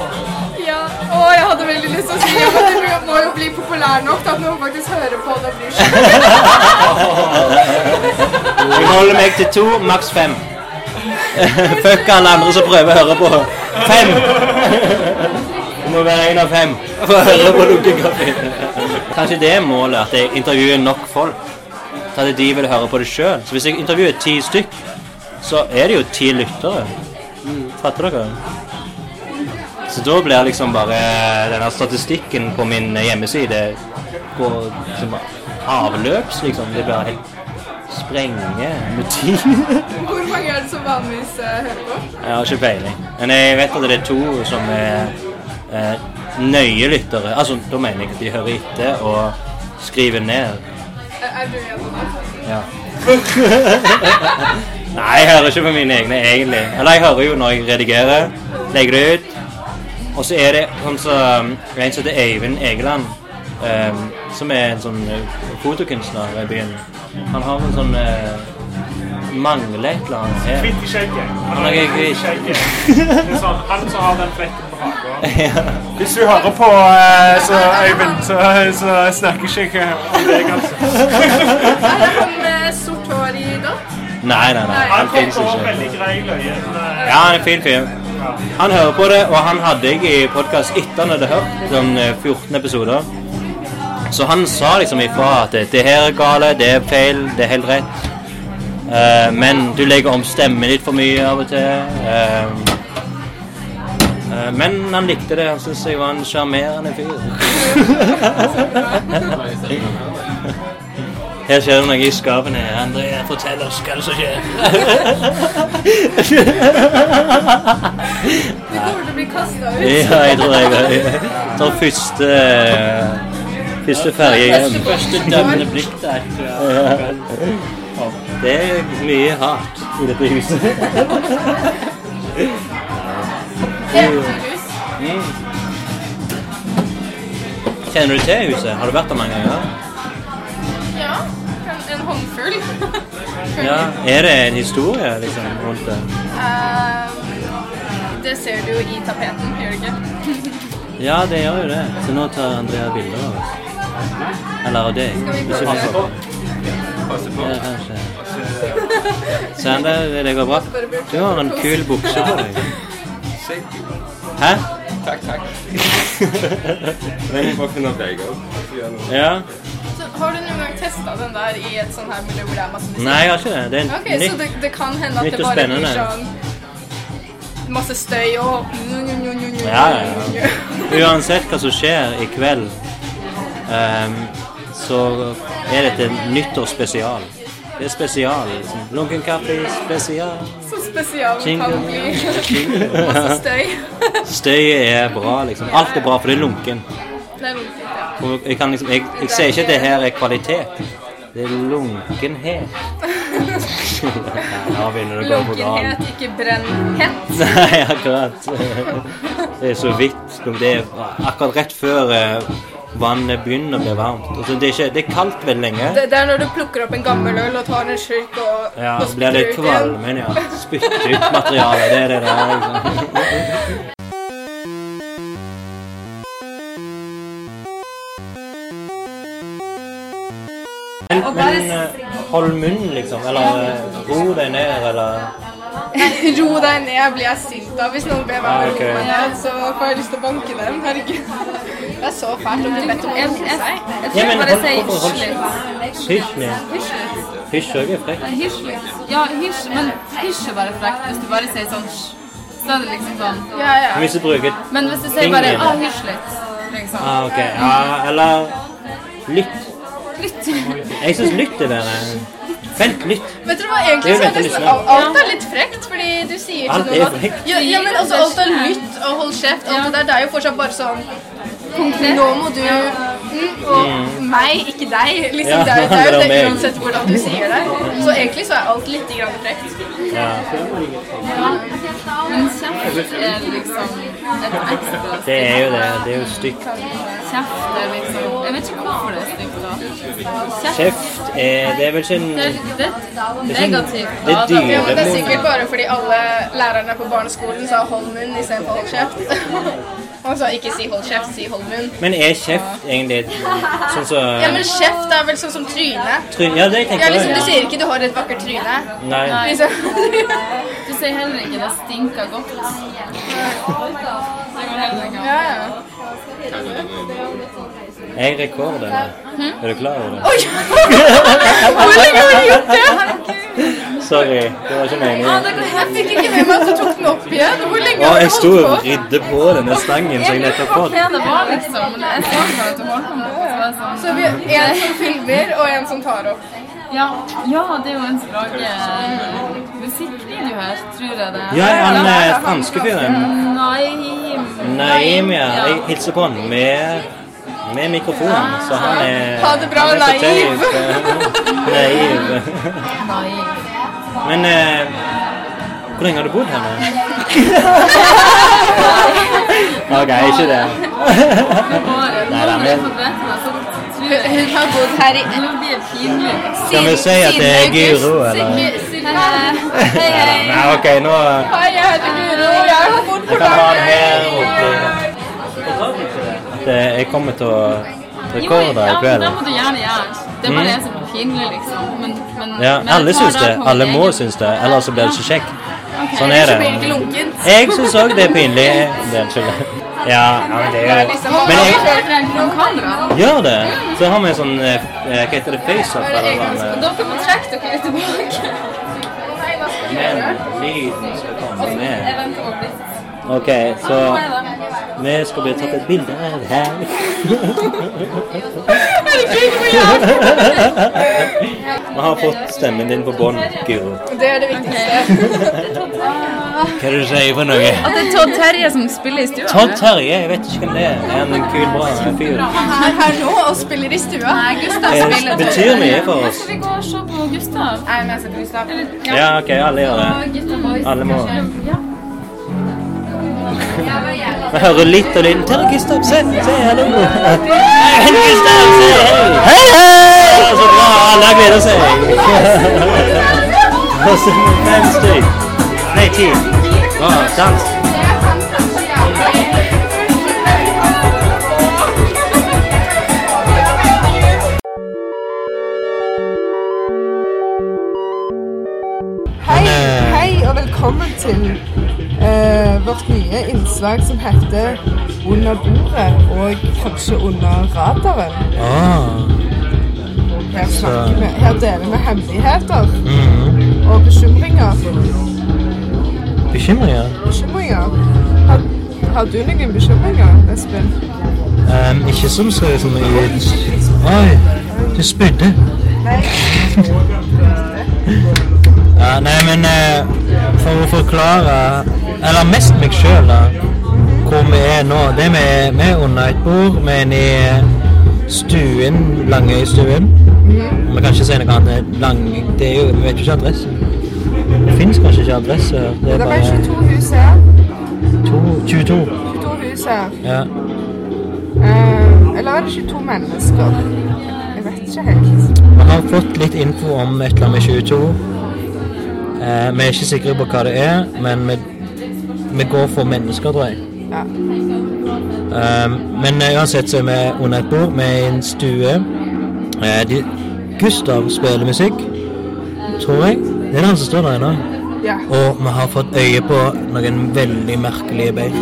I: Ja, å, jeg hadde veldig lyst til å si det, men det må jo bli populær nok til at noen faktisk hører på det og bryr
C: Jeg holder meg til to, maks fem. Fuck alle andre som prøver å høre på. Fem! Det må være en av fem for å høre på lukkekaffen. Kanskje det er målet, at jeg intervjuer nok folk til at de vil høre på det sjøl. Så hvis jeg intervjuer ti stykk, så er det jo ti lyttere. Fatter dere? Så da blir liksom bare denne statistikken på min hjemmeside går som avløps, liksom. Det blir helt sprenge motiv.
I: seg. Hvor mange er det som vanligvis eh, hører på?
C: Jeg har ikke peiling. Men jeg vet at det er to som er eh, nøye lyttere. Altså, da mener jeg at de hører etter og skriver ned.
I: Er- Eh, Er du en av dem?
C: Ja. Nei, jeg hører ikke på mine egne, egentlig. Eller jeg hører jo når jeg redigerer, legger det ut. Og så er det sånn som en som heter Øyvind Egeland, eh, som er en sånn eh, fotokunstner i byen. Han har en sånn eh, mangler et eller annet her.
O: Kvitt i skjegget.
C: Han er ikke kvitt.
O: Det er sånn, han som har den flekken på
C: Ja.
O: hagen. Hvis du hører på, eh, så Øyvind, så, så snakker ikke jeg om deg, altså.
I: Er det han med sort hår i dott?
C: Nei, nei, nei.
O: Han
C: Han
O: kom
C: finnes
O: på
C: ikke.
O: veldig grei løyen. eh,
C: Ja, han er en fin fyr. Han hører på det, og han hadde jeg i podkast etter han hadde hørt sånn eh, 14 episoder. Så han sa liksom ifra at eh, det her er gale, det er feil, det er helt rett. Eh, men du legger om stemmen litt for mye av og til. Eh, eh, men han likte det. Han syntes jeg var en sjarmerende fyr. Her skjer det noe i skapene. André, fortell oss hva som skjer.
I: Du kommer til å bli kasta ut.
C: Ja, jeg tror jeg jeg tar første Første ferje igjen.
P: Første dømmende blikk der. tror jeg.
C: Ja.
P: Ja.
C: Det er mye hat i dette huset.
I: Eventyrhus.
C: Mm. Kjenner du til huset? Har du vært der mange ganger?
I: Ja. En, en håndfull.
C: Ja. Er det en historie liksom, rundt det?
I: Ehm, Eh, det ser du jo i tapeten, gjør du ikke?
C: Ja, det gjør jo det. Så nå tar Andrea bilder av oss. Eller av deg.
I: Skal vi
C: Ikke
I: passe
C: meg.
I: på?
P: Passe på.
C: Ja, kanskje. Sander, det går bra? Du har en kul bukse på deg. Hæ?
Q: Takk, takk. Men jeg må finne deg òg.
C: Ja.
I: Så har du noen gang testa den der i et sånn her miljø hvor det er masse musikk?
C: Nei, jeg har ikke det. Det er
I: Ok,
C: nytt.
I: Så det, det kan hende at
C: nytt
I: det
C: og
I: bare blir
C: spennende.
I: sånn masse støy og
C: Ja, ja, ja. Uansett hva som skjer i kveld, ehm, så er dette nyttårsspesial. Det er spesial. Liksom. Lunken kaffe spesial.
I: Så spesial det kan
C: Jingle.
I: bli.
C: Jingle.
I: masse støy.
C: Støy er bra, liksom. Alt er bra, for det er lunken.
I: Det er litt fint, ja.
C: Og jeg, kan liksom, jeg, jeg sier ikke at det her er kvalitet. Det er lunkenhet. Nå begynner det å gå på
I: Lunkenhet,
C: galen.
I: ikke brennhett.
C: Nei, akkurat. Det er så vidt. Det er akkurat rett før eh, vannet begynner å bli varmt. Altså, det, er ikke, det er kaldt veldig lenge.
I: Det, det er når du plukker opp en gammel øl og tar en slurk og,
C: Ja,
I: og
C: så blir det
I: spytter ut igjen.
C: kvalmen, ja. Spytte ut materialet. Det er det det er. Liksom. Men, men eh, hold munnen, liksom. Eller eh, ro deg ned, eller
I: Nei, Ro deg ned, blir jeg sint av hvis noen ber meg
C: Ah,
I: om å
C: ok.
I: roe meg ned. Så får jeg lyst til å banke dem. Herregud. Det er så fælt å bli bedt om å roe seg.
C: Jeg tror Ja, men bare hold- sier hvorfor- hysj litt. Hysj litt. Hysj òg er frekk.
R: Nei, hysj litt. Ja, hysj, men hysj er bare frekt hvis du bare sier sånn hysj. Så er det liksom sånn.
I: Ja, ja.
C: Hvis du bruker
R: Men hvis du sier bare
C: fingeren
R: ah, hysj litt, liksom.
C: ah, ok. Ja, eller lytt.
I: Litt.
C: Jeg syns lytt er bedre. Vent, lytt.
I: Vet dere hva, egentlig
C: Det
I: så er det
C: er veldig
I: sånn,
C: lyst.
I: al- alt er litt frekt, fordi du sier ikke
C: Alt
I: noe
C: er
I: annet.
C: frekt.
I: Ja, ja, men altså, alt er lytt og hold kjeft. Alt det der, det er jo fortsatt bare sånn
R: Konkret.
I: Nå må du mm, Og
C: Mm.
I: meg, ikke deg. Liksom,
C: Ja,
I: det er jo det, er jo
C: det er
I: det
C: meg.
I: uansett hvordan du sier det. Så egentlig så er alt litt grann frekt.
R: Ja. Men kjeft er liksom et ekstra
C: Det er jo det. Det er jo stygt.
R: Kjeft er liksom Jeg vet ikke hvorfor det er stygt, da.
C: Kjeft er Det er vel ikke en
R: Det er, det er negativt.
C: Det er dyre
I: Ja, men det er
C: mål.
I: sikkert bare fordi alle lærerne på barneskolen sa 'hold munn' istedenfor 'hold kjeft'. Han sa ikke 'si hold kjeft', si 'hold munn'.
C: Men er kjeft egentlig et- sånn som
I: Ja, men kjeft er vel sånn som tryne.
C: Tryn- Ja, det tenker
I: Ja, liksom, du
C: jeg.
I: sier ikke 'du har et vakkert tryne'.
C: Nei.
I: Liksom.
R: Du sier heller ikke 'det stinker godt'. Det går heller ikke an.
I: Ja, ja.
C: Jeg rekorder det.
I: Mhm.
C: Er du klar over det?
I: Hmm? Oi! Hvordan har du gjort det?
C: Sorry, det var ikke meningen.
I: Jeg fikk ikke med meg at du tok den opp igjen. Hvor lenge
C: Å,
I: har du
C: jeg sto
I: holdt
C: og
I: på?
C: ridde på denne stangen som jeg nettopp har fått.
R: det var, liksom. Men jeg så bare at du holdt på med det. så jeg sånn-
I: Så vi en som filmer, og en som tar opp.
R: Ja, ja, det er jo en sprake musikkvideo her, tror jeg det. er.
C: Ja, han eh, franske fyren.
R: Naim.
C: Naim, ja. Jeg hilser på han med, med mikrofon, så han er
R: Ah. Ha det bra,
C: han er så
R: Naim.
C: tøff, eh, Naiv.
R: Naim.
C: Men eh, hvor lenge har du bodd her nå? OK, ikke det. Nei, da, men
I: Hun har bodd her i
R: Nå blir det pinlig.
C: Kan vi si at det er Guro, eller?
I: Hei, hei.
C: Nei, OK, nå
I: Hei, jeg heter Guro, og jeg har bodd på
C: Jeg kan ha den her
I: Langøy.
C: borte. Det, eh, jeg kommer til å rekorde
R: Jo,
C: i
R: ja,
C: kveld.
R: Det må du gjerne gjøre. Det er bare
C: Mm.
R: jeg som er pinlig, liksom. Men, men,
C: Ja,
R: men
C: alle
R: jeg tar
C: syns
R: da
C: det.
R: på min
C: Alle må
R: egen-
C: synes det, ellers så blir det ikke kjekt.
R: Ok.
C: Sånn er det.
R: Så blir det ikke lunkent.
C: Jeg syns òg det er pinlig. Det er ikke det. Ja, ja, men det er jo Men
R: Men
C: jeg
R: jeg noen kamera.
C: gjør det. Så har vi en sånn eh, eh, Hva heter det? FaceUp eller sånn? eh,
R: Dere må trekke dere litt tilbake.
C: Men lyden skal komme
R: Jeg
C: med.
R: venter på blitt.
C: OK, så
R: Hei, da.
C: Vi skal bli tatt et bilde av her.
I: Herregud, hvor jævlig!
C: Vi har fått stemmen din på bånd, Guro.
I: Det er det viktigste.
C: Hva er det du sier for noe?
S: At det er Todd Terje som spiller i stua?
C: Todd Terje, jeg vet ikke hvem det er. Er han en kul, bra fyr?
I: Han er her nå og spiller i stua. Nei,
C: Gustav Det spiller. betyr mye for oss.
S: Skal vi gå og se på Gustav?
I: Nei, men jeg ser på Gustav.
C: Ja, OK, alle gjør det. Alle må. Vi hører litt av lyden. Terje Gustav, se! Se, hallo! Hei, Gustav! Se! Hei, hei! Så bra! Alle gleder seg. Og så fem stykk. Nei, ti. Bra. Dans.
B: Hei, hei og velkommen til eh, vårt nye innslag som heter Under bordet og kanskje under radaren.
C: Ah.
B: Her, snakker vi, her deler vi hemmeligheter
C: Mm.
B: og bekymringer.
C: Bekymringer?
B: Bekymringer. Har, har du noen bekymringer, Espen?
C: Ehm, ikke som så som i Oi, du spydde.
B: Nei.
C: Ja, nei, men eh, for å forklare Eller mest meg sjøl, da. Hvor vi er nå. Det vi er, vi er under et bord. Vi er inne i stuen. Langøystuen.
B: Mhm.
C: Vi kan ikke si noe annet. Lang, det er jo, vi vet jo ikke adressen. Det fins kanskje ikke adresse.
B: Det
C: Det
B: er
C: er
B: bare
C: bare
B: 22 hus her.
C: to, 22.
B: 22 hus her.
C: Ja.
B: Eh, eller er det 22 mennesker? Jeg vet ikke helt.
C: Vi har fått litt info om et eller annet med 22. Eh, vi er ikke sikre på hva det er, men vi, vi går for mennesker, tror jeg.
B: Ja.
C: Um, men eh, uansett så er vi under et bord. Vi er i en stue. Eh, de, Gustav spiller musikk, tror jeg. Det er han som står der ennå.
B: Ja.
C: Og vi har fått øye på noen veldig merkelige bein.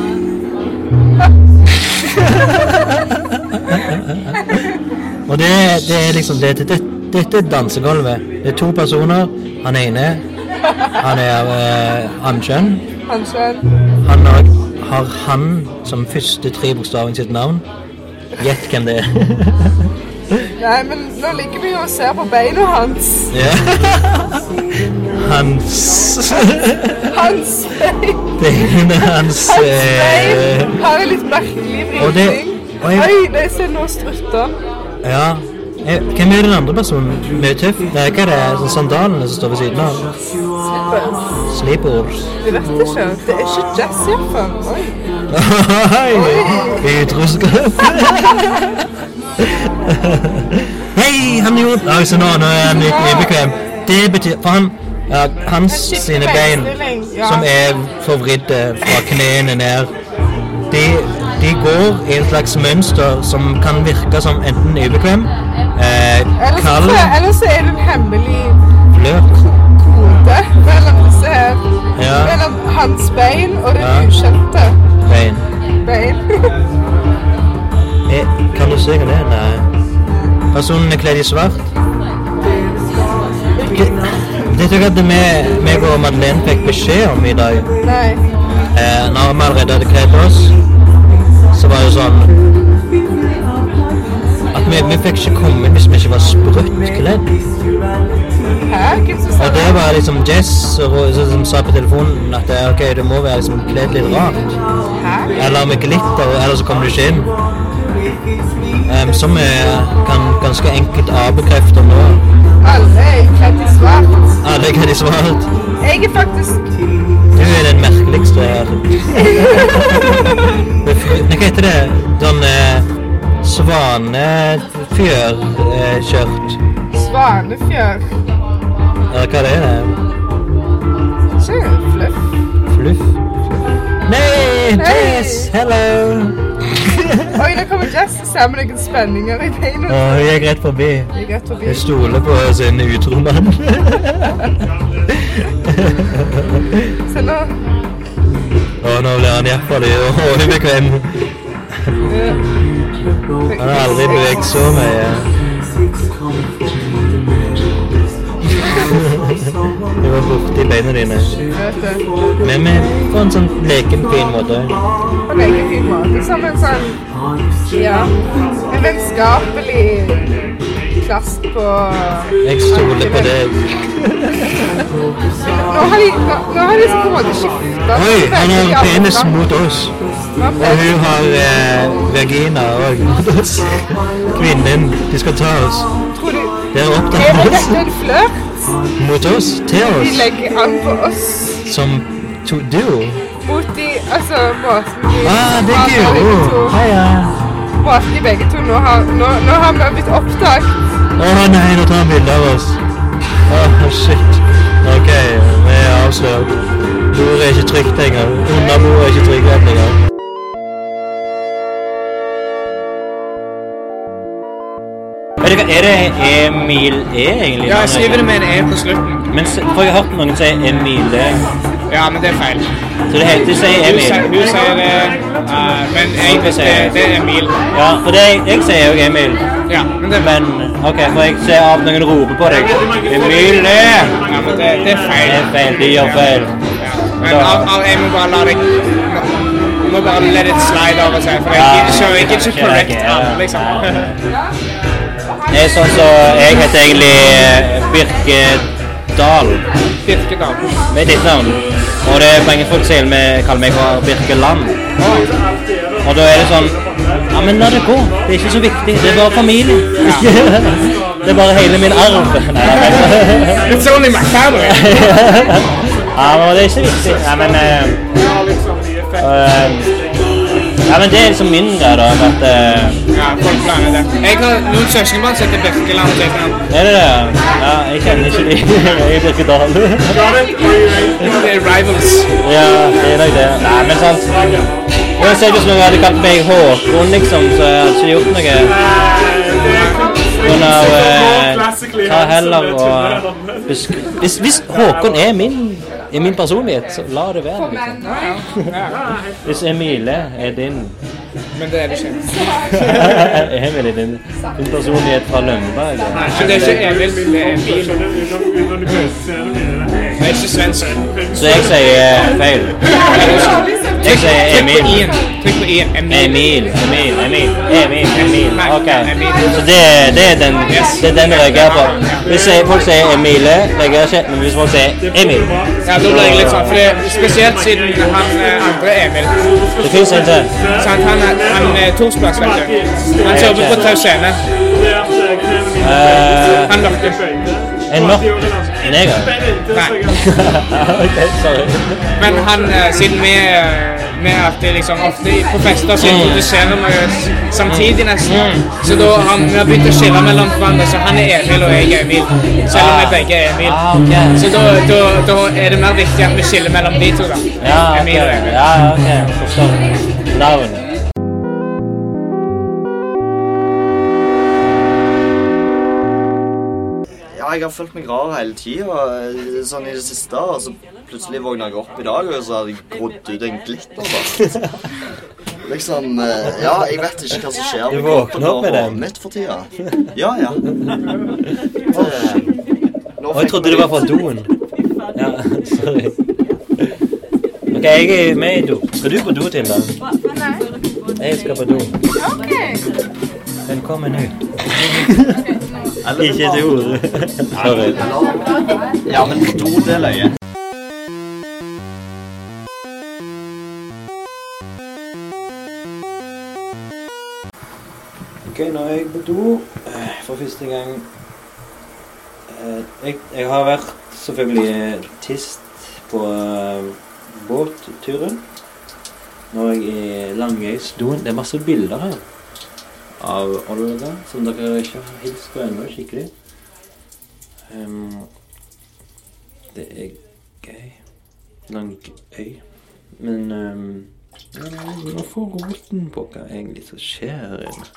C: Og det, det er liksom det, det, Dette er dansegulvet. Det er to personer. Han ene han er eh, hannkjønn.
B: Han sjøl.
C: Han har, har han som første tre bokstaven sitt navn. Gjett hvem det er.
B: Nei, men nå ligger vi jo og ser på beina hans.
C: Ja. Hans
B: Hans bein.
C: Det er hans eh,
B: Bein har en litt merkelig
C: Og det-
B: vridning.
C: og jeg-
B: Oi, nei, se nå strutter han.
C: Ja. Eh, Hvem er den andre personen? Mye tøff? Nei, hva er det? Sånn Sandalene som står ved siden av?
B: Slippers.
C: Sleepers.
B: Jeg vet ikke. Det er ikke jazz, iallfall. Oi.
C: Hei! Utroskap. Hei, han gjorde Nei, så nå, nå er han litt ubekvem. Det betyr For han ja, Hans
B: En skikkelig
C: sine bein,
B: beinstilling, ja.
C: som er forvridde fra knærne ned, de, de går i et slags mønster som kan virke som enten ubekvem, eh,
B: Ellers,
C: kald,
B: så- ellers så er det en hemmelig
C: bløt
B: kode mellom disse her.
C: Ja.
B: Mellom hans bein og det
C: Ja.
B: ukjente
C: bein.
B: bein.
C: Eh, kan du se hva det er? Nei. Personen er kledd i svart. Vet dere at vi, vi og Madeleine fikk beskjed om i dag?
B: Nei.
C: Eh, når vi allerede hadde kledd oss, så var det sånn At vi, vi fikk ikke komme hvis vi ikke var sprøtt kledd.
B: Hæ? Hvem som sa
C: Og det var liksom Jess og Ro- som sa på telefonen at eh, ok, du må være liksom kledd litt rart. Eller med glitter, eller så kommer du ikke inn. Em, som vi kan ganske enkelt avbekrefte nå.
B: Alle er kledd i svart.
C: Alle kan i svart.
B: Jeg er faktisk
C: Du er den merkeligste her. Det er fri- Nei, Hva heter det? Sånn eh, svanefjørkjørt.
B: svanefjør.
C: Eller hva det er det?
B: Ikke fluff.
C: Fluff? Nei! Jess! Hello!
B: Oi, nå kommer Jess og ser med noen spenninger i beina.
C: Å, hun gikk rett forbi.
B: Jeg er forbi.
C: Hun stoler på sin utro mann.
B: Se nå.
C: Å, nå blir han iallfall ubekvem. Han har aldri beveget så mye. Du var borte i beina dine.
T: Vet du.
C: Men vi på en sånn leken, fin måte.
T: På lekefin måte. Som en sånn Ja. En vennskapelig klask på
C: Jeg stoler på deg.
T: Nå har de, nå, nå har liksom de på en måte skifta
C: Oi, han har penis mot oss. Og hun har eh, vagina òg mot oss. Kvinnen. De skal ta oss.
T: Tror du
C: Det er
T: Er
C: opptatt
T: det
C: av oss.
T: dette en flørt?
C: Mot oss. Til
T: De
C: oss.
T: legger an på oss
C: Som to duo.
T: mot de Altså måten de
C: Ah, det er
T: prater begge
C: Guro.
T: to-
C: Hei, hei.
T: Måten de begge to nå har Nå, nå har vi blitt opptatt.
C: Å nei, nå tar han bilde av oss. Å, shit. OK, vi er avslørt. Bordet er ikke trygt lenger. Under bordet er ikke trygt lenger. Er det, er det Emil E, egentlig?
N: Ja, jeg skriver det med en E på slutten.
C: Men s- for jeg har hørt noen si Emil E.
N: Ja, men det er feil.
C: Så det heter ikke
N: Hun
C: Emil.
N: sier- Hun sier det, eh, men jeg, det, det er Emil.
C: Ja, for det, jeg sier jo Emil.
N: Ja, men det
C: Men OK, for jeg ser at noen roper på deg. Emil E!
N: Ja, men det, det er feil.
C: Det er feil. De gjør feil.
N: Men al, al, jeg må bare la deg jeg må bare let it slide over seg, for jeg
C: Ja,
N: gidder ikke- jeg gidder ikke
C: ja,
N: correct
C: ja,
N: han,
C: ja.
N: liksom.
C: Det er sånn som Jeg heter egentlig eh, Birkedal.
N: Birkedal.
C: Med ditt navn. Og det er mange folk som sier vi kaller meg for Birkeland. Og da er det sånn Ja, men la det gå. Det er ikke så viktig. Det er bare familie. det er bare hele min arv. Nei, nei, nei.
N: It's only my family.
C: ja, men det er ikke viktig. Nei, men eh, eh, Ja, men det er liksom min greie, da. At, eh,
N: Ja, folk blander det. Jeg har noen søskenbarn som heter Birkeland. og Birkeland.
C: er det det? Ja, jeg kjenner ikke de. Jeg er Birkedal.
N: Det er eh, rivals.
C: Ja, det er nok det. Nei, men sant. Uansett hvis noen hadde kalt meg Håkon, liksom, så hadde ikke de gjort noe. Sånn av eh, Ta heller og hvis, hvis, hvis Håkon er min, er min personlighet, så la det være. Liksom. Hvis Emile er din
N: Men det er det ikke.
C: Emil er din, din personlighet fra Lønneberg.
N: Nei, men det er ikke Emil, det er Emil. Det er ikke Svensson.
C: Så jeg sier eh, feil. Jeg sier Emil.
N: Trykk på I-en.
C: Emil. Emil, Emil, Emil, Emil. Ok. Så det, det er den det er den jeg reagerer på. Hvis jeg, folk sier Emile, reagerer jeg ikke. Men hvis folk sier Emil
N: Ja, da blir jeg litt sånn, for det er spesielt siden han eh, andre Emil.
C: Det finnes en til.
N: Sant, han er, han er Torsplass, vet du. Han som jobber på Tausene.
C: Eh,
N: Han mørke.
C: En mørk En neger?
N: Nei.
C: ok, sorry.
N: Men han, eh, siden vi, eh, vi er alltid liksom ofte i- på fester, så
C: Mm.
N: introduserer vi oss samtidig nesten. Så da har vi har begynt å skille mellom hverandre, så han er Emil og jeg er Emil. Selv om vi
C: Ah.
N: begge er Emil.
U: Ah,
N: Så da, da, da er det mer viktig at vi skiller mellom de to, da.
C: Ja,
U: Ah,
C: Ah, ok.
N: Emil og Emil.
C: Ja, ok. Forstår. Navn.
K: Ja, jeg har følt meg rar hele tida, sånn i det siste. Og så plutselig våkna jeg opp i dag, og så hadde jeg grodd ut en glitter. da. Liksom eh, Ja, jeg vet ikke hva som skjer
C: Du
K: med
C: våkner
K: kroppen
C: opp
K: og
C: med den?
K: hodet mitt for tida. Ja, ja.
C: Å, jeg trodde det var fra doen. Ja, sorry. Ok, jeg er med i do. Skal du på do, Tilda? Jeg skal på do. Velkommen ut. Ikke et ord. Sorry.
K: Ja, men to, det er løye.
C: Ok, nå er jeg på do eh, for første gang. Eh, Jeg, jeg har vært selvfølgelig tist på eh, båtturen. Nå er jeg i Langøysdoen. Det er masse bilder her av Olga som dere ikke har hilst på ennå skikkelig. Ehm, det er gøy. Langøy. Men ehm, ja, nei, nå får roten på hva egentlig som skjer her inne.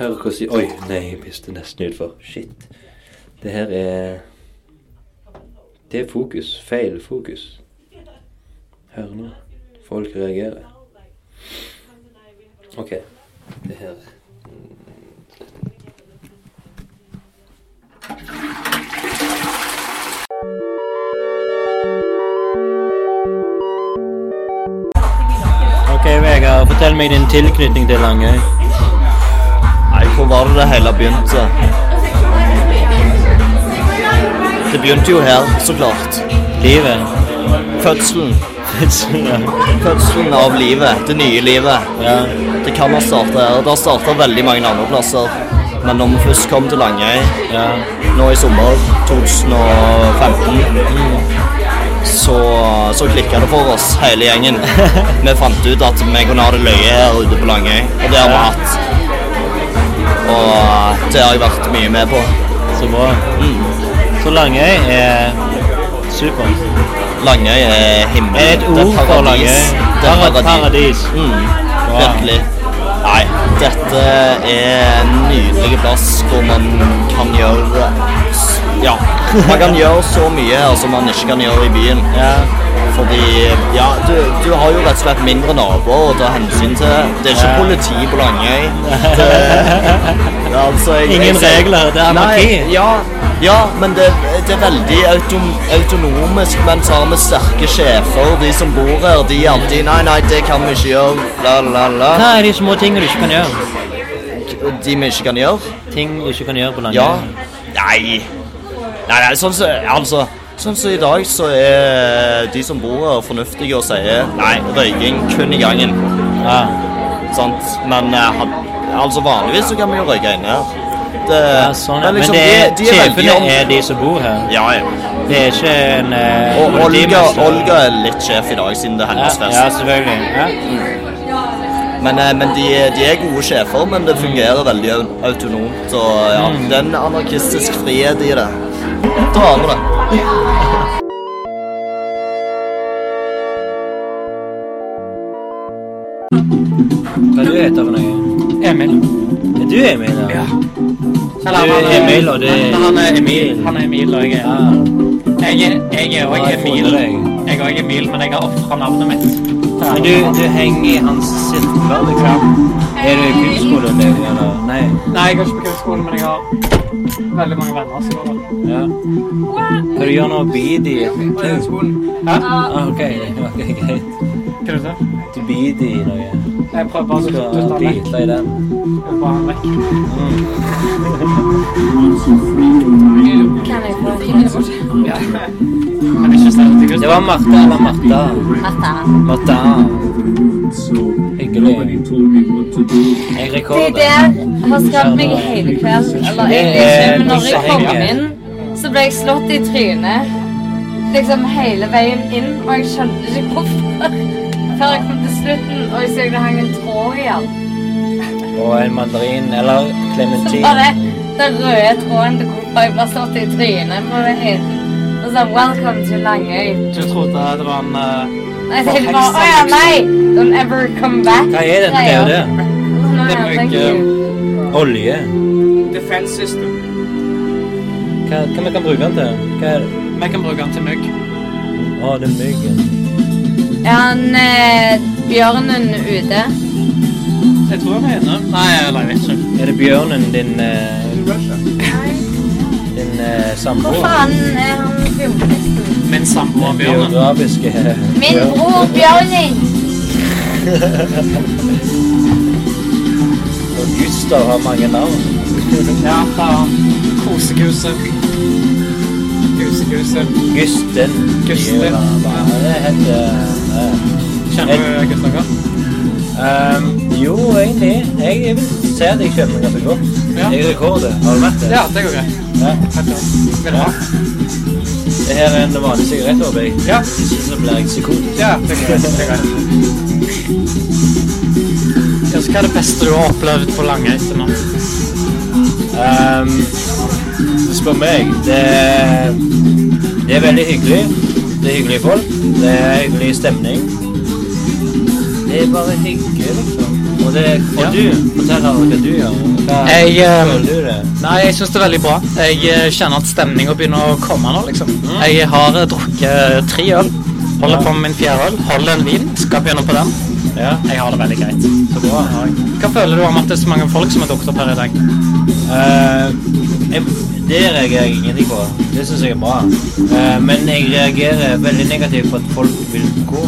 C: Hør hvordan de Oi, nei, jeg piste nesten utfor. Shit. Det her er Det er fokus. Feil fokus. Hør nå. Folk reagerer. OK. Det her Vegard. Fortell meg din tilknytning til Langøy.
K: Nei, hvor var det det hele begynte? Det begynte jo her, så klart.
C: Livet.
K: Fødselen.
C: Fødselen,
K: av livet. Det nye livet. Det kan ha starta her. Det har starta veldig mange andre plasser. Men når vi først kom til Langøy nå i sommer 2015 så, så klikka det for oss, hele gjengen. vi fant ut at vi kunne ha det løye her ute på Langøy, og det har vi hatt. Og det har jeg vært mye med på. Mm.
C: Så bra. Så Langøy er super.
K: Langøy er himmel.
C: Et
K: Det
C: ord
K: er
C: for Langøy.
K: paradis. Det er
C: Par-
K: paradis.
C: paradis.
K: Mm.
C: Bra.
K: Virkelig. Nei, dette er en nydelig plass hvor man kan gjøre s- Ja, man kan gjøre så mye her som man ikke kan gjøre i byen. Fordi ja, du, du har jo rett og slett mindre naboer å ta hensyn til. Det er ikke
C: Ja.
K: politi på Langøy. Det- Ja, altså, jeg-
C: Ingen
K: jeg ser-
C: regler, det er anarki.
K: Nei, ja, ja, men det, det er veldig autom autonomisk, men så har vi sterke sjefer. De som bor her, de er alltid Nei, nei, det kan vi ikke gjøre. La, la, la.
C: Hva er de små tingene du ikke kan gjøre?
K: De vi ikke kan gjøre?
C: Ting du ikke kan gjøre på Langøy.
K: Ja. Nei. Nei, nei, sånn som altså, sånn som i dag, så er de som bor her, fornuftige og sier nei, røyking kun i gangen.
C: Ja.
K: Sant? Men eh, had- altså, vanligvis så kan vi jo røyke inne her. Det,
C: Ja, sånn, ja.
K: men liksom,
C: men det er,
K: de, de er veldig
C: sjefene
K: om...
C: er de som bor her.
K: Ja, ja.
C: Det er ikke en eh,
K: Og Olga,
C: politimester.
K: Olga er litt sjef i dag, siden det er hennes
C: Ja,
K: fest.
C: ja, selvfølgelig.
K: Men, eh, men de, de er gode sjefer, men det fungerer veldig au- autonomt. Og ja,
C: Mm.
K: det er en anarkistisk frihet i det. Da har vi det.
C: Hva du heter for noe?
U: Emil.
C: Er du Emil? Ja.
U: Eller,
C: du er
U: han er-
C: Emil, og det er
U: han- han er Emil. Han er Emil, og jeg er Jeg er jeg er også Emil. Jeg er også Emil, men jeg har ofra navnet mitt.
C: Men du, du henger i hans sirkel, liksom? Er du i kunstskolen din, eller? Nei.
U: Nei, jeg går ikke på kunstskolen, men jeg har veldig mange venner som går der.
C: Ja. Hva du gjør nå? Bidi? Hæ? Ah, ok, ok, greit.
U: Hva du sa du?
C: Du bidi i noe.
U: Jeg prøver bare å
C: Du
U: slutte å
C: skal
U: ta den vekk.
C: bite i den.
U: Jeg prøver å ha den vekk.
C: Mm.
V: Kan jeg få finne bort?
U: Ja. Men ikke snill til kunstskolen.
C: Det var Martha eller Martha.
V: Martha.
C: Martha. Hyggelig. Jeg
V: De
C: rekorder.
V: der har skapt meg i hele kveld. Eller
C: Det
V: egentlig ikke,
C: er
V: men når jeg kom
C: poenget.
V: inn, så ble jeg slått i trynet. Liksom hele veien inn, og jeg skjønte ikke hvorfor. Før jeg kom til slutten, og jeg så det hang en tråd igjen.
C: Og en mandarin eller
V: Så
C: clementin.
V: var det den røde tråden til hvorfor jeg ble slått i trynet på veien. Og sånn, welcome to Langøy.
U: Du trodde det var en eh,
V: Nei, så jeg bare,
U: forheksa
V: åja,
U: liksom.
V: nei, don't ever come back.
C: Hva er dette? Det er jo det.
U: Det er
V: Thank
U: mye
V: you.
C: Olje.
U: defense system.
C: Hva, hva vi kan bruke den til? Hva er det?
U: Vi kan bruke den til mygg.
C: Å, det er myggen.
V: Er han eh, bjørnen ute?
U: Jeg tror han er inne. Nei, eller jeg vet ikke.
C: Er det bjørnen din eh, Din eh,
V: Hvor
C: samboer?
V: faen er han fjordnissen?
U: Min samboer Bjørnen.
C: Geografiske
V: Min bror Bjørnin!
C: Og Gustav har mange navn.
U: Ja, faen. Kosekuset. Kusekuset.
C: Gusten.
U: Gusten.
C: Ja, hva er Det heter eh,
U: Kjenner du Gustav godt?
C: ehm, jo, egentlig. Jeg, jeg vil si at jeg kjenner ham ganske godt. Jeg rekorder. Har du merket det?
U: Ja, det går greit.
C: Ja.
U: Vil du ha?
C: Det her er en vanlig sigarett, håper jeg.
U: Ja.
C: Ikke så blir jeg psykotisk.
U: Ja, det går greit. Det går greit. Ja, så hva er det beste du har opplevd på Langøy til nå?
C: Ehm, spør meg. Det, det er veldig hyggelig. Det er hyggelige folk. Det er hyggelig stemning. Det er bare hyggelig, liksom. Og, det, og du, fortell her hva du gjør. Hva
U: Jeg, eh,
C: føler du det?
U: Nei, jeg syns det er veldig bra. Jeg eh, kjenner at stemninga begynner å komme nå, liksom.
C: Mm.
U: Jeg har eh, drukket tre øl. Holder på med min fjerde øl. Holder en vin. Skal begynne på den. Jeg har det veldig greit.
C: Så bra.
U: ehm, Hva føler du om at det er så mange folk som er drukket opp her i dag?
C: Eh, jeg, det reagerer jeg ingenting på. Det syns jeg er bra. Eh, men jeg reagerer veldig negativt på at folk vil gå.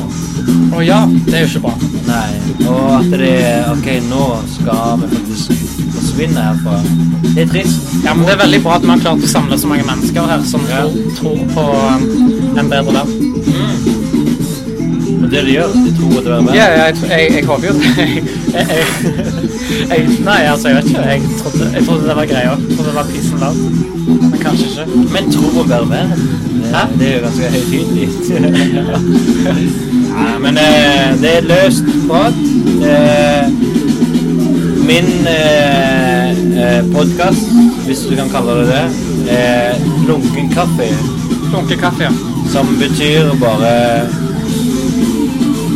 U: Å ja, det er jo ikke bra.
C: Nei. Og at det er OK, nå skal vi faktisk forsvinne herfra. Det er trist.
U: Ja, men Det er veldig bra at vi har klart å samle så mange mennesker her som tror, tror på um, en bedre verden.
C: Og det de gjør, de tror at det er verre.
U: Ja, jeg, tr- jeg, jeg håper jo det. Jeg, jeg, jeg, jeg, nei, altså, jeg vet ikke. Jeg trodde, jeg trodde det var greia. Jeg trodde det var peace and love. Men kanskje ikke.
C: Men tro på bedre verden. Det, det er jo ganske høytidelig. Nei, men eh, det er løst prat. Eh, min eh, eh, podkast, hvis du kan kalle det det, er Lunken kaffe.
U: Lunken kaffe, ja.
C: Som betyr bare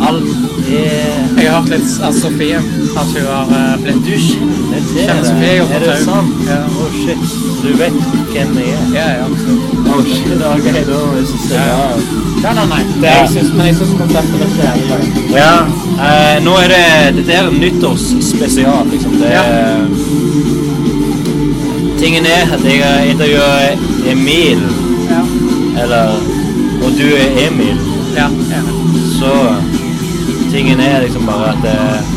C: alt er
U: Jeg har hørt litt av Sofie at hun har eh, blitt dusj.
C: det er
U: Kjenner
C: det.
U: Sofie jo på
C: Er det
U: tau.
C: sant?
U: Ja.
C: Oh shit, du vet hvem jeg er?
U: Ja, ja.
C: Oh shit, ok, da må jeg synes det er bra.
U: Nei, nei, nei. Det,
C: Ja.
U: jeg synes, men jeg syns konseptet er så jævlig bra.
C: Ja, eh, nå er det Dette er en nyttårsspesial, liksom. Det, er- Tingen er at jeg har intervjuet Emil. Eller Og du er Emil.
U: Ja, enig.
C: Så tingen er liksom bare at eh,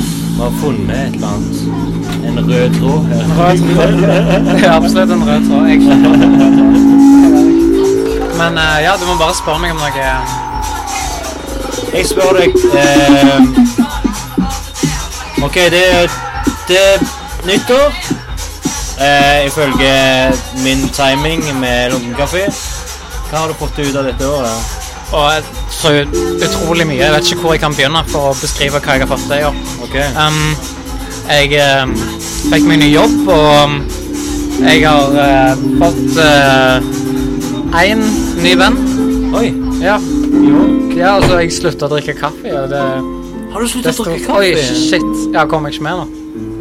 C: vi har funnet et eller annet. En rød tråd her.
U: En rød tråd. Det er absolutt en rød tråd. Jeg skjønner en rød tråd. Men eh, ja, du må bare spørre meg om noe. eh.
C: Jeg spør deg eh, Ok, det er, det er nyttår. Eh, ifølge min timing med lunken kaffe. Hva har du fått ut av dette året?
U: Og jeg så utrolig mye. Jeg vet ikke hvor jeg kan begynne for å beskrive hva jeg har fått til i år. Um, jeg um, fikk meg ny jobb, og um, jeg har eh, fått eh, én ny venn.
C: Oi.
U: Ja. ja, altså, jeg slutta å drikke kaffe. Og det,
C: har du sluttet å drikke kaffe?
U: Oi, shit. Ja, kom jeg ikke med nå?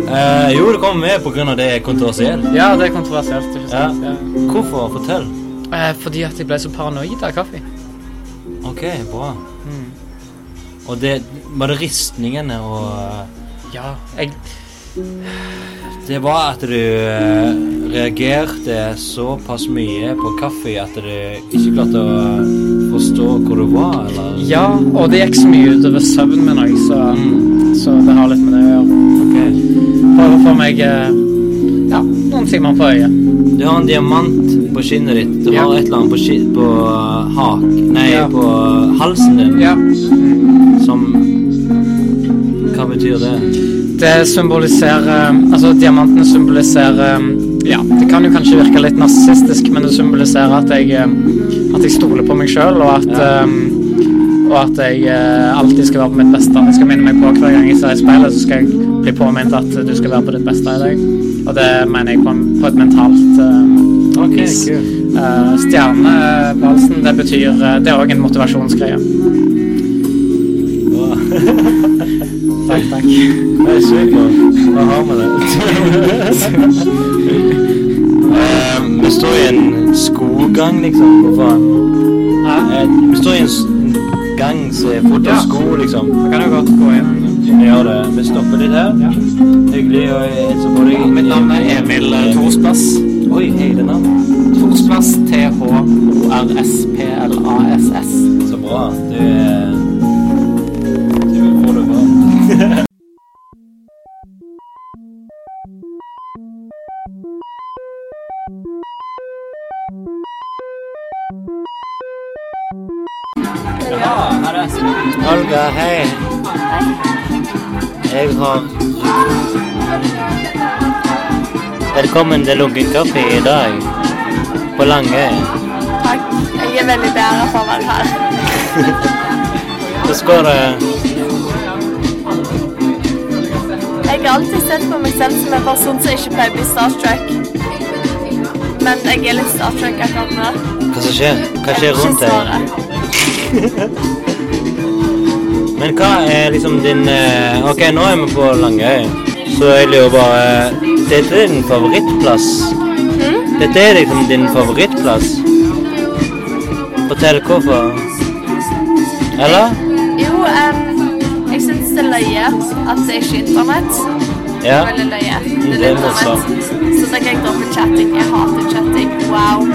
C: Eh, jo, det kommer med pga. det er kontroversielt.
U: Ja, det er kontroversielt. ikke
C: Ja.
U: sant? Ja.
C: Hvorfor? Fortell.
U: Eh, fordi at jeg ble så paranoid av kaffe.
C: Ok, bra.
U: Mm.
C: Og det var det ristningene og eh,
U: Ja, jeg
C: Det var at du eh, reagerte såpass mye på kaffe at du ikke klarte å forstå hvor du var, eller?
U: Ja, og det gikk så mye utover søvnen min òg, så,
C: Mm.
U: så det har litt med det å gjøre. Prøver å få meg eh, ja, noen timer på øyet.
C: Du har en diamant på skinnet ditt. Du har et eller annet på, skin- på eh, hak... Nei, på halsen din. Som Hva betyr det?
U: Det symboliserer Altså, diamantene symboliserer eh, Ja, det kan jo kanskje virke litt narsistisk, men det symboliserer at jeg eh, At jeg stoler på meg sjøl, og at eh, Og at jeg eh, alltid skal være på mitt beste. Jeg skal minne meg på hver gang jeg ser i speilet, så skal jeg bli påminnet at du skal være på ditt beste i dag. Og det mener jeg på, en- på et mentalt eh,
C: Ok,
U: vis.
C: kult.
U: Eh, Stjernevalsen, det betyr eh, Det er òg en motivasjonsgreie. Takk, takk.
C: Det er supert. Hva har vi det? Um, Vi står i en skogang, liksom. Hva faen? Eh, Vi står i en s- en gang som er full av sko, liksom.
U: Da kan jo godt gå inn.
C: Vi gjør det. Vi stopper litt her. Hyggelig å hilse på deg. Mitt navn er
U: Emil eh, Torsplass.
C: Oi, hele navn.
U: Torsplass, T-H-O-R-S-P-L-A-S-S.
C: Så bra. Du er Du får det bra. Olga, hei. Jeg har Velkommen til Lunken kaffe i dag. På Lange.
W: Takk. Jeg er veldig bedre for å være her.
C: Hvordan går det?
W: Jeg har alltid sett på meg selv som en person som ikke pleier å bli starstruck. Men jeg er litt starstruck akkurat nå.
C: Hva som skjer? Hva skjer rundt deg? Men hva er liksom din eh, Ok, nå er vi på Langøy, så jeg lurer bare Dette er din favorittplass?
W: Hmm?
C: Dette er liksom din favorittplass? Fortell hvorfor. Eller?
W: Jo, em, jeg syns det er løye at det ikke er internett.
C: Ja.
W: veldig nøye.
C: Det
W: Det er
C: er
W: litt som
C: morsomt.
W: et- Så tenker jeg dobbelt chatting. Jeg hater chatting. Wow.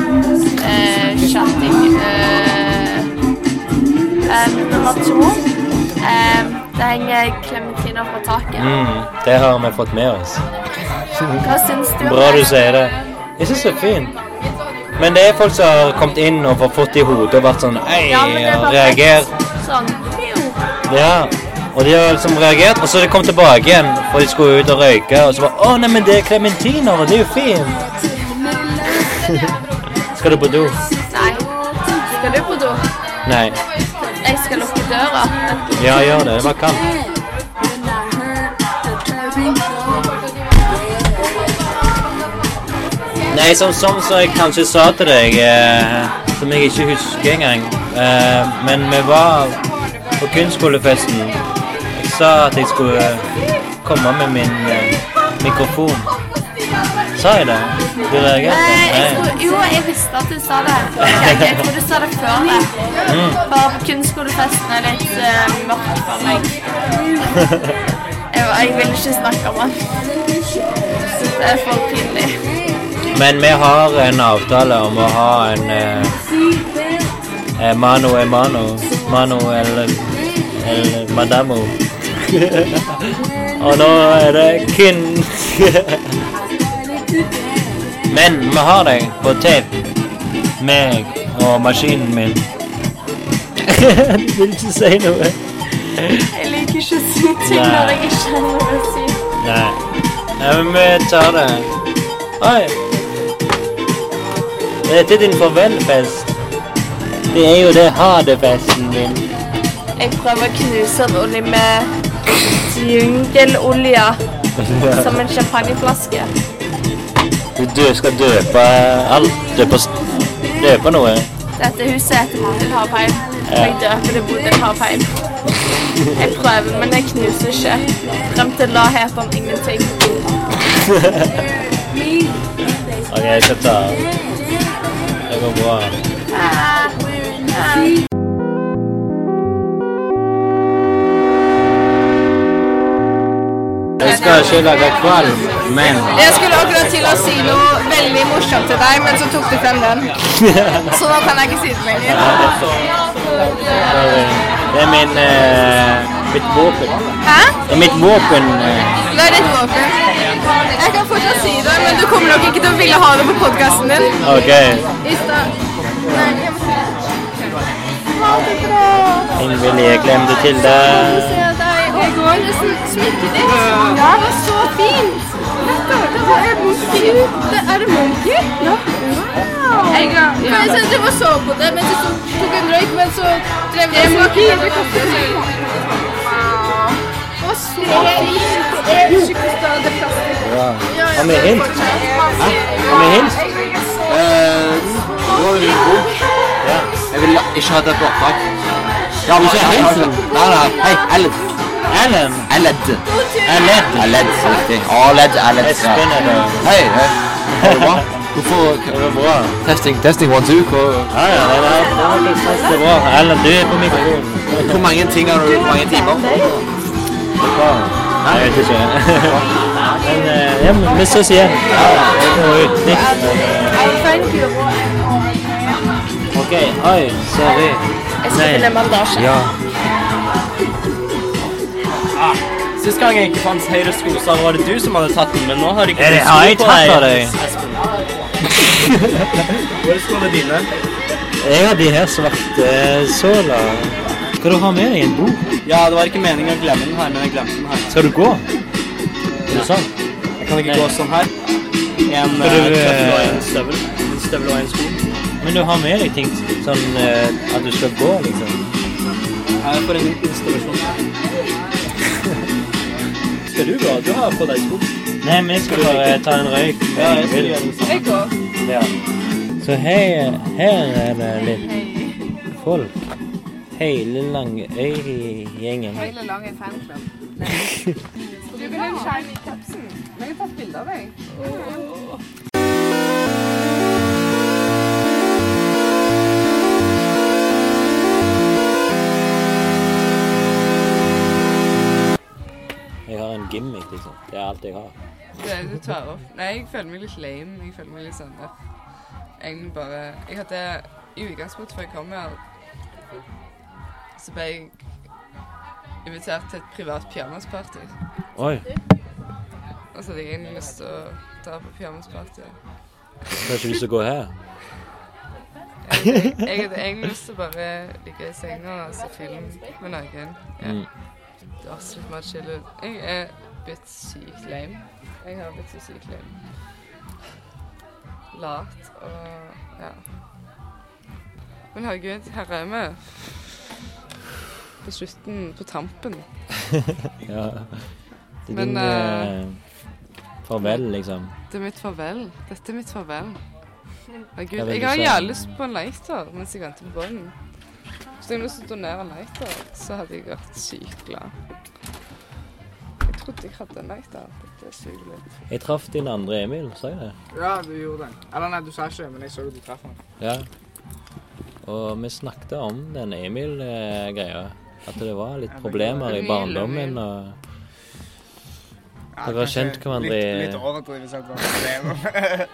W: Eh, chatting eh, eh, Nummer to eh, Det henger klementiner på taket.
C: Mm, det har vi fått med oss.
W: Hva syns du om
C: Bra
W: det?
C: du sier det. Jeg syns det er fint. Men det er folk som har kommet inn og fått fått i hodet og vært sånn Ei,
W: Ja, men det er
C: og
W: perfekt.
C: reagert.
W: Sånn. Jo.
C: Ja. Og de har liksom reagert, og så de kom tilbake igjen, for de skulle ut og røyke, og så bare Å, neimen, det er klementiner, og det er jo fint. Skal du på do?
W: Nei. Skal du på do?
C: Nei.
W: Jeg skal lukke døra.
C: Ja, gjør det. Det var kaldt. Nei, som, som, som jeg kanskje sa til deg, eh, som jeg ikke husker engang, eh, men vi var på kunstskolefesten. Jeg sa at jeg skulle eh, komme med min eh, mikrofon. Sa jeg det? Du
W: Nei,
C: reagerte?
W: jeg tror, jo, jeg visste at du sa det. Jeg, jeg tror du sa det før det.
C: Mm.
W: For kunstskolefesten er litt eh, mørk for meg. Jeg, jeg vil ikke snakke om den. Det er for pinlig.
C: Men vi har en avtale om å ha en eh, eh, mano e mano. Mano eller, eller madamo. Og nå er det kun Men vi har deg på tape. Meg og maskinen min. du vil ikke si noe.
W: Jeg liker ikke å si ting
C: Nei.
W: når jeg ikke har noe å si.
C: Nei. Nei, men vi tar det. Oi. Dette er din farvelfest. Det er jo det ha-det-festen min.
W: Jeg prøver å knuse Ronny med jungelolje som en champagneflaske.
C: Du dø- skal døpe alt. Døpe, s- døpe noe.
W: Dette huset heter Bodil Havheim. Og jeg døper det Bodil Havheim. Jeg prøver, men jeg knuser ikke. Frem til la het om ingenting.
C: OK, jeg skal ta av. Det går bra.
V: Ah,
C: Jeg skal ikke lage kvalm, men
I: Jeg skulle akkurat til å si noe veldig morsomt til deg, men så tok du frem den. Så nå kan jeg ikke si det lenger.
C: Det er min eh, mitt våpen.
I: Hæ?
C: Det er mitt våpen. eh.
I: Det er ditt våpen. Jeg kan fortsatt si det, men du kommer nok ikke til å ville ha det på podkasten din. I
C: OK.
I: stad. Nei, jeg må
C: Jeg vil jeg glemte til deg.
I: se deg. Og i går smykket ditt. Ja, det var så fint. Det var en monkey. Det er en monkey? Ja.
R: Jeg ga-
I: For jeg synes jeg var så på det mens jeg tok- tok en røyk, men så drev jeg og smakte på kaffen. Det var så fint. Det er skikkelig større plastikk.
C: Ja. Har vi hint? Hæ? Har vi hint?
Q: Eh, nå er det en bok. Jeg vil ikke ha det på opptak. Ja, men ikke Hansen. Nei, nei. Hei, Elled.
C: Ellen.
Q: Elled.
C: Elled.
Q: Elled, riktig. Aled, Elled. ja.
C: Espen er det.
Q: Hei, hei. Går det bra? Hvorfor? Går det bra? Testing, testing, one, two. Hvor,
C: Ja, ja, det var, det var faktisk det bra. Ellen, du er på mikrofonen.
Q: hvor mange ting har du? Hvor mange timer?
C: Det er bra. Nei, jeg vet ikke. Men eh, ja, men vi ses igjen. Jeg må ut. OK. Oi, sorry.
W: Jeg skal finne en bandasje.
C: Ja.
P: Ah, Sist gang jeg ikke fant høyre skoser, var det du som hadde tatt den, men nå har jeg ikke
C: Er det- har jeg tatt av deg?
P: Hvor er skoene dine?
C: Jeg har de her svarte såla. Skal du ha med deg en bok?
P: Ja, det var ikke meningen å glemme den her, men jeg glemte den her.
C: Skal du gå? Er det sant?
P: Jeg kan ikke gå sånn her. En
C: Skal
P: eh,
C: du, eh,
P: tøffel og en støvel. En støvel og en sko.
C: Men du har med deg ting sånn eh, at du skal gå, liksom?
P: Her er for en installasjon. Skal du gå? Du har på deg sko.
C: Nei, men jeg skal bare ta en røyk.
P: Ja, jeg skal gjøre det samme.
I: Jeg går.
C: Ja. Så her, her er det litt folk. Hele Langøy-gjengen.
I: Hele lange fanclub. Du vil ha en skjerm i kapsen. Men jeg har tatt bilde av deg.
C: Jeg har en gimmick, liksom. Det er alt jeg har.
B: Det er litt tverr opp. Nei, jeg føler meg litt lame. Jeg føler meg litt sånn at egentlig bare Jeg hadde I utgangspunktet før jeg kom her, så ble jeg invitert til et privat pyjamasparty.
C: Oi.
B: Og så hadde jeg egentlig lyst til å dra på pyjamasparty.
C: Har ikke lyst til å gå her.
B: Jeg jeg hadde egentlig lyst til å bare ligge i senga og se film med noen. Ja.
C: Mm.
B: Det var så litt mer chill ut. Jeg er blitt sykt lame. Jeg har blitt så sykt lame. Lat og ja. Men herregud, her er vi. På slutten, på tampen.
C: ja. Det er
B: Men,
C: din
B: eh,
C: eh, farvel, liksom.
B: Det er mitt farvel. Dette er mitt farvel. Herregud,
C: Jeg vil
B: jeg har
C: ikke-
B: jævlig lyst på en lighter mens jeg venter på båten. Hvis jeg hadde lyst til å donere en lighter, så hadde jeg vært sykt glad. Jeg trodde jeg hadde en lighter. Dette suger litt.
C: Jeg traff din andre Emil, sa jeg det?
U: Ja, du gjorde det. Eller nei, du sa ikke det, men jeg så at du traff han.
C: Ja. Og vi snakket om den Emil-greia. At det var litt problemer i
U: Emil,
C: barndommen og Dere har kjent hverandre
U: Litt, litt
C: i-
U: overdrivelse at det var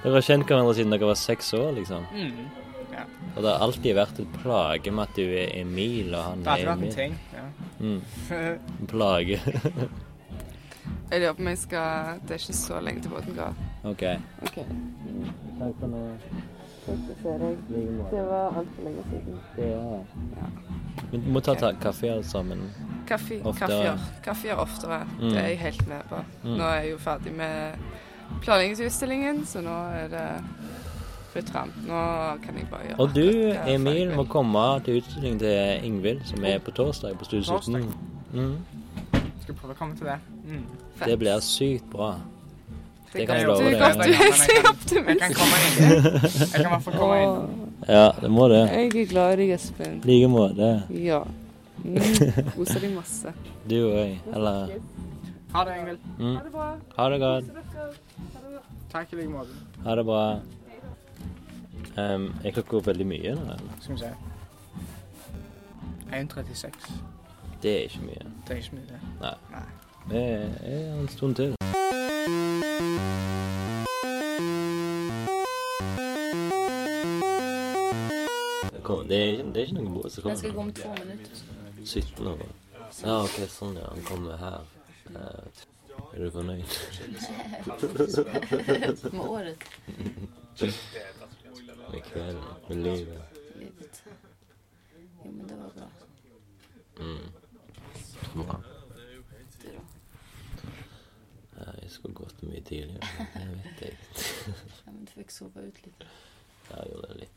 C: Dere har kjent hverandre siden dere var seks år, liksom.
U: Mm, ja.
C: Og det har alltid vært en plage med at du er Emil, og han
U: Det har alltid
C: er
U: vært en
C: Emil.
U: ting, ja.
C: Mm. En Plage.
B: Jeg lurer på om jeg skal Det er ikke så lenge til båten går.
C: OK.
B: Ok.
C: Takk for nå.
B: Godt å se deg.
C: Det
B: var altfor lenge siden.
C: Det er Vi må ta ta kaffe sammen.
B: Kaffe,
C: Oftere.
B: kaffer, kaffer oftere.
C: Mm.
B: Det er jeg helt med på.
C: Mm.
B: Nå er jeg jo ferdig med planleggingsutstillingen, så nå er det fritt fram. Nå kan jeg bare gjøre
C: Og du, Emil, må komme til utstillingen til Ingvild, som er på torsdag på Studio 17. Mm.
U: Skal prøve å komme til det. Mm.
C: Det blir sykt bra. Det kan jeg
U: jeg
C: love
U: gjøre.
C: deg.
U: Du er godt-
B: Du er så
U: Jeg kan komme inn. Jeg kan i hvert fall komme inn.
C: Ja, det må det.
B: Jeg er glad i deg, Espen.
C: I like måte.
B: Ja. Mm. Koser deg masse.
C: Du òg. Eller
U: Ha det, Ingvild.
C: mm. Ha det godt.
U: Takk i like måte.
C: Ha det bra. Um, jeg klokka veldig mye nå. eller?
U: Skal vi se. 1.36.
C: Det er ikke mye.
U: Det er ikke mye, det.
C: Nei.
U: Nou.
C: Det er er en stund til. Kom, det, er, ikke- det er ikke noe båt som
A: Den skal gå
C: kommer.
A: om två minutter.
C: 17 år. Ja, OK, sånn, ja. Han kommer her. Eh, er du fornøyd?
A: Med året.
C: Med kvelden. Med livet.
A: Livet. Jo, men det var bra.
C: Mm. Bra. Ja, Jeg skulle gått mye tidligere, men det vet jeg.
A: Ja, men du fikk sove ut litt.
C: Ja, Jeg gjorde det litt.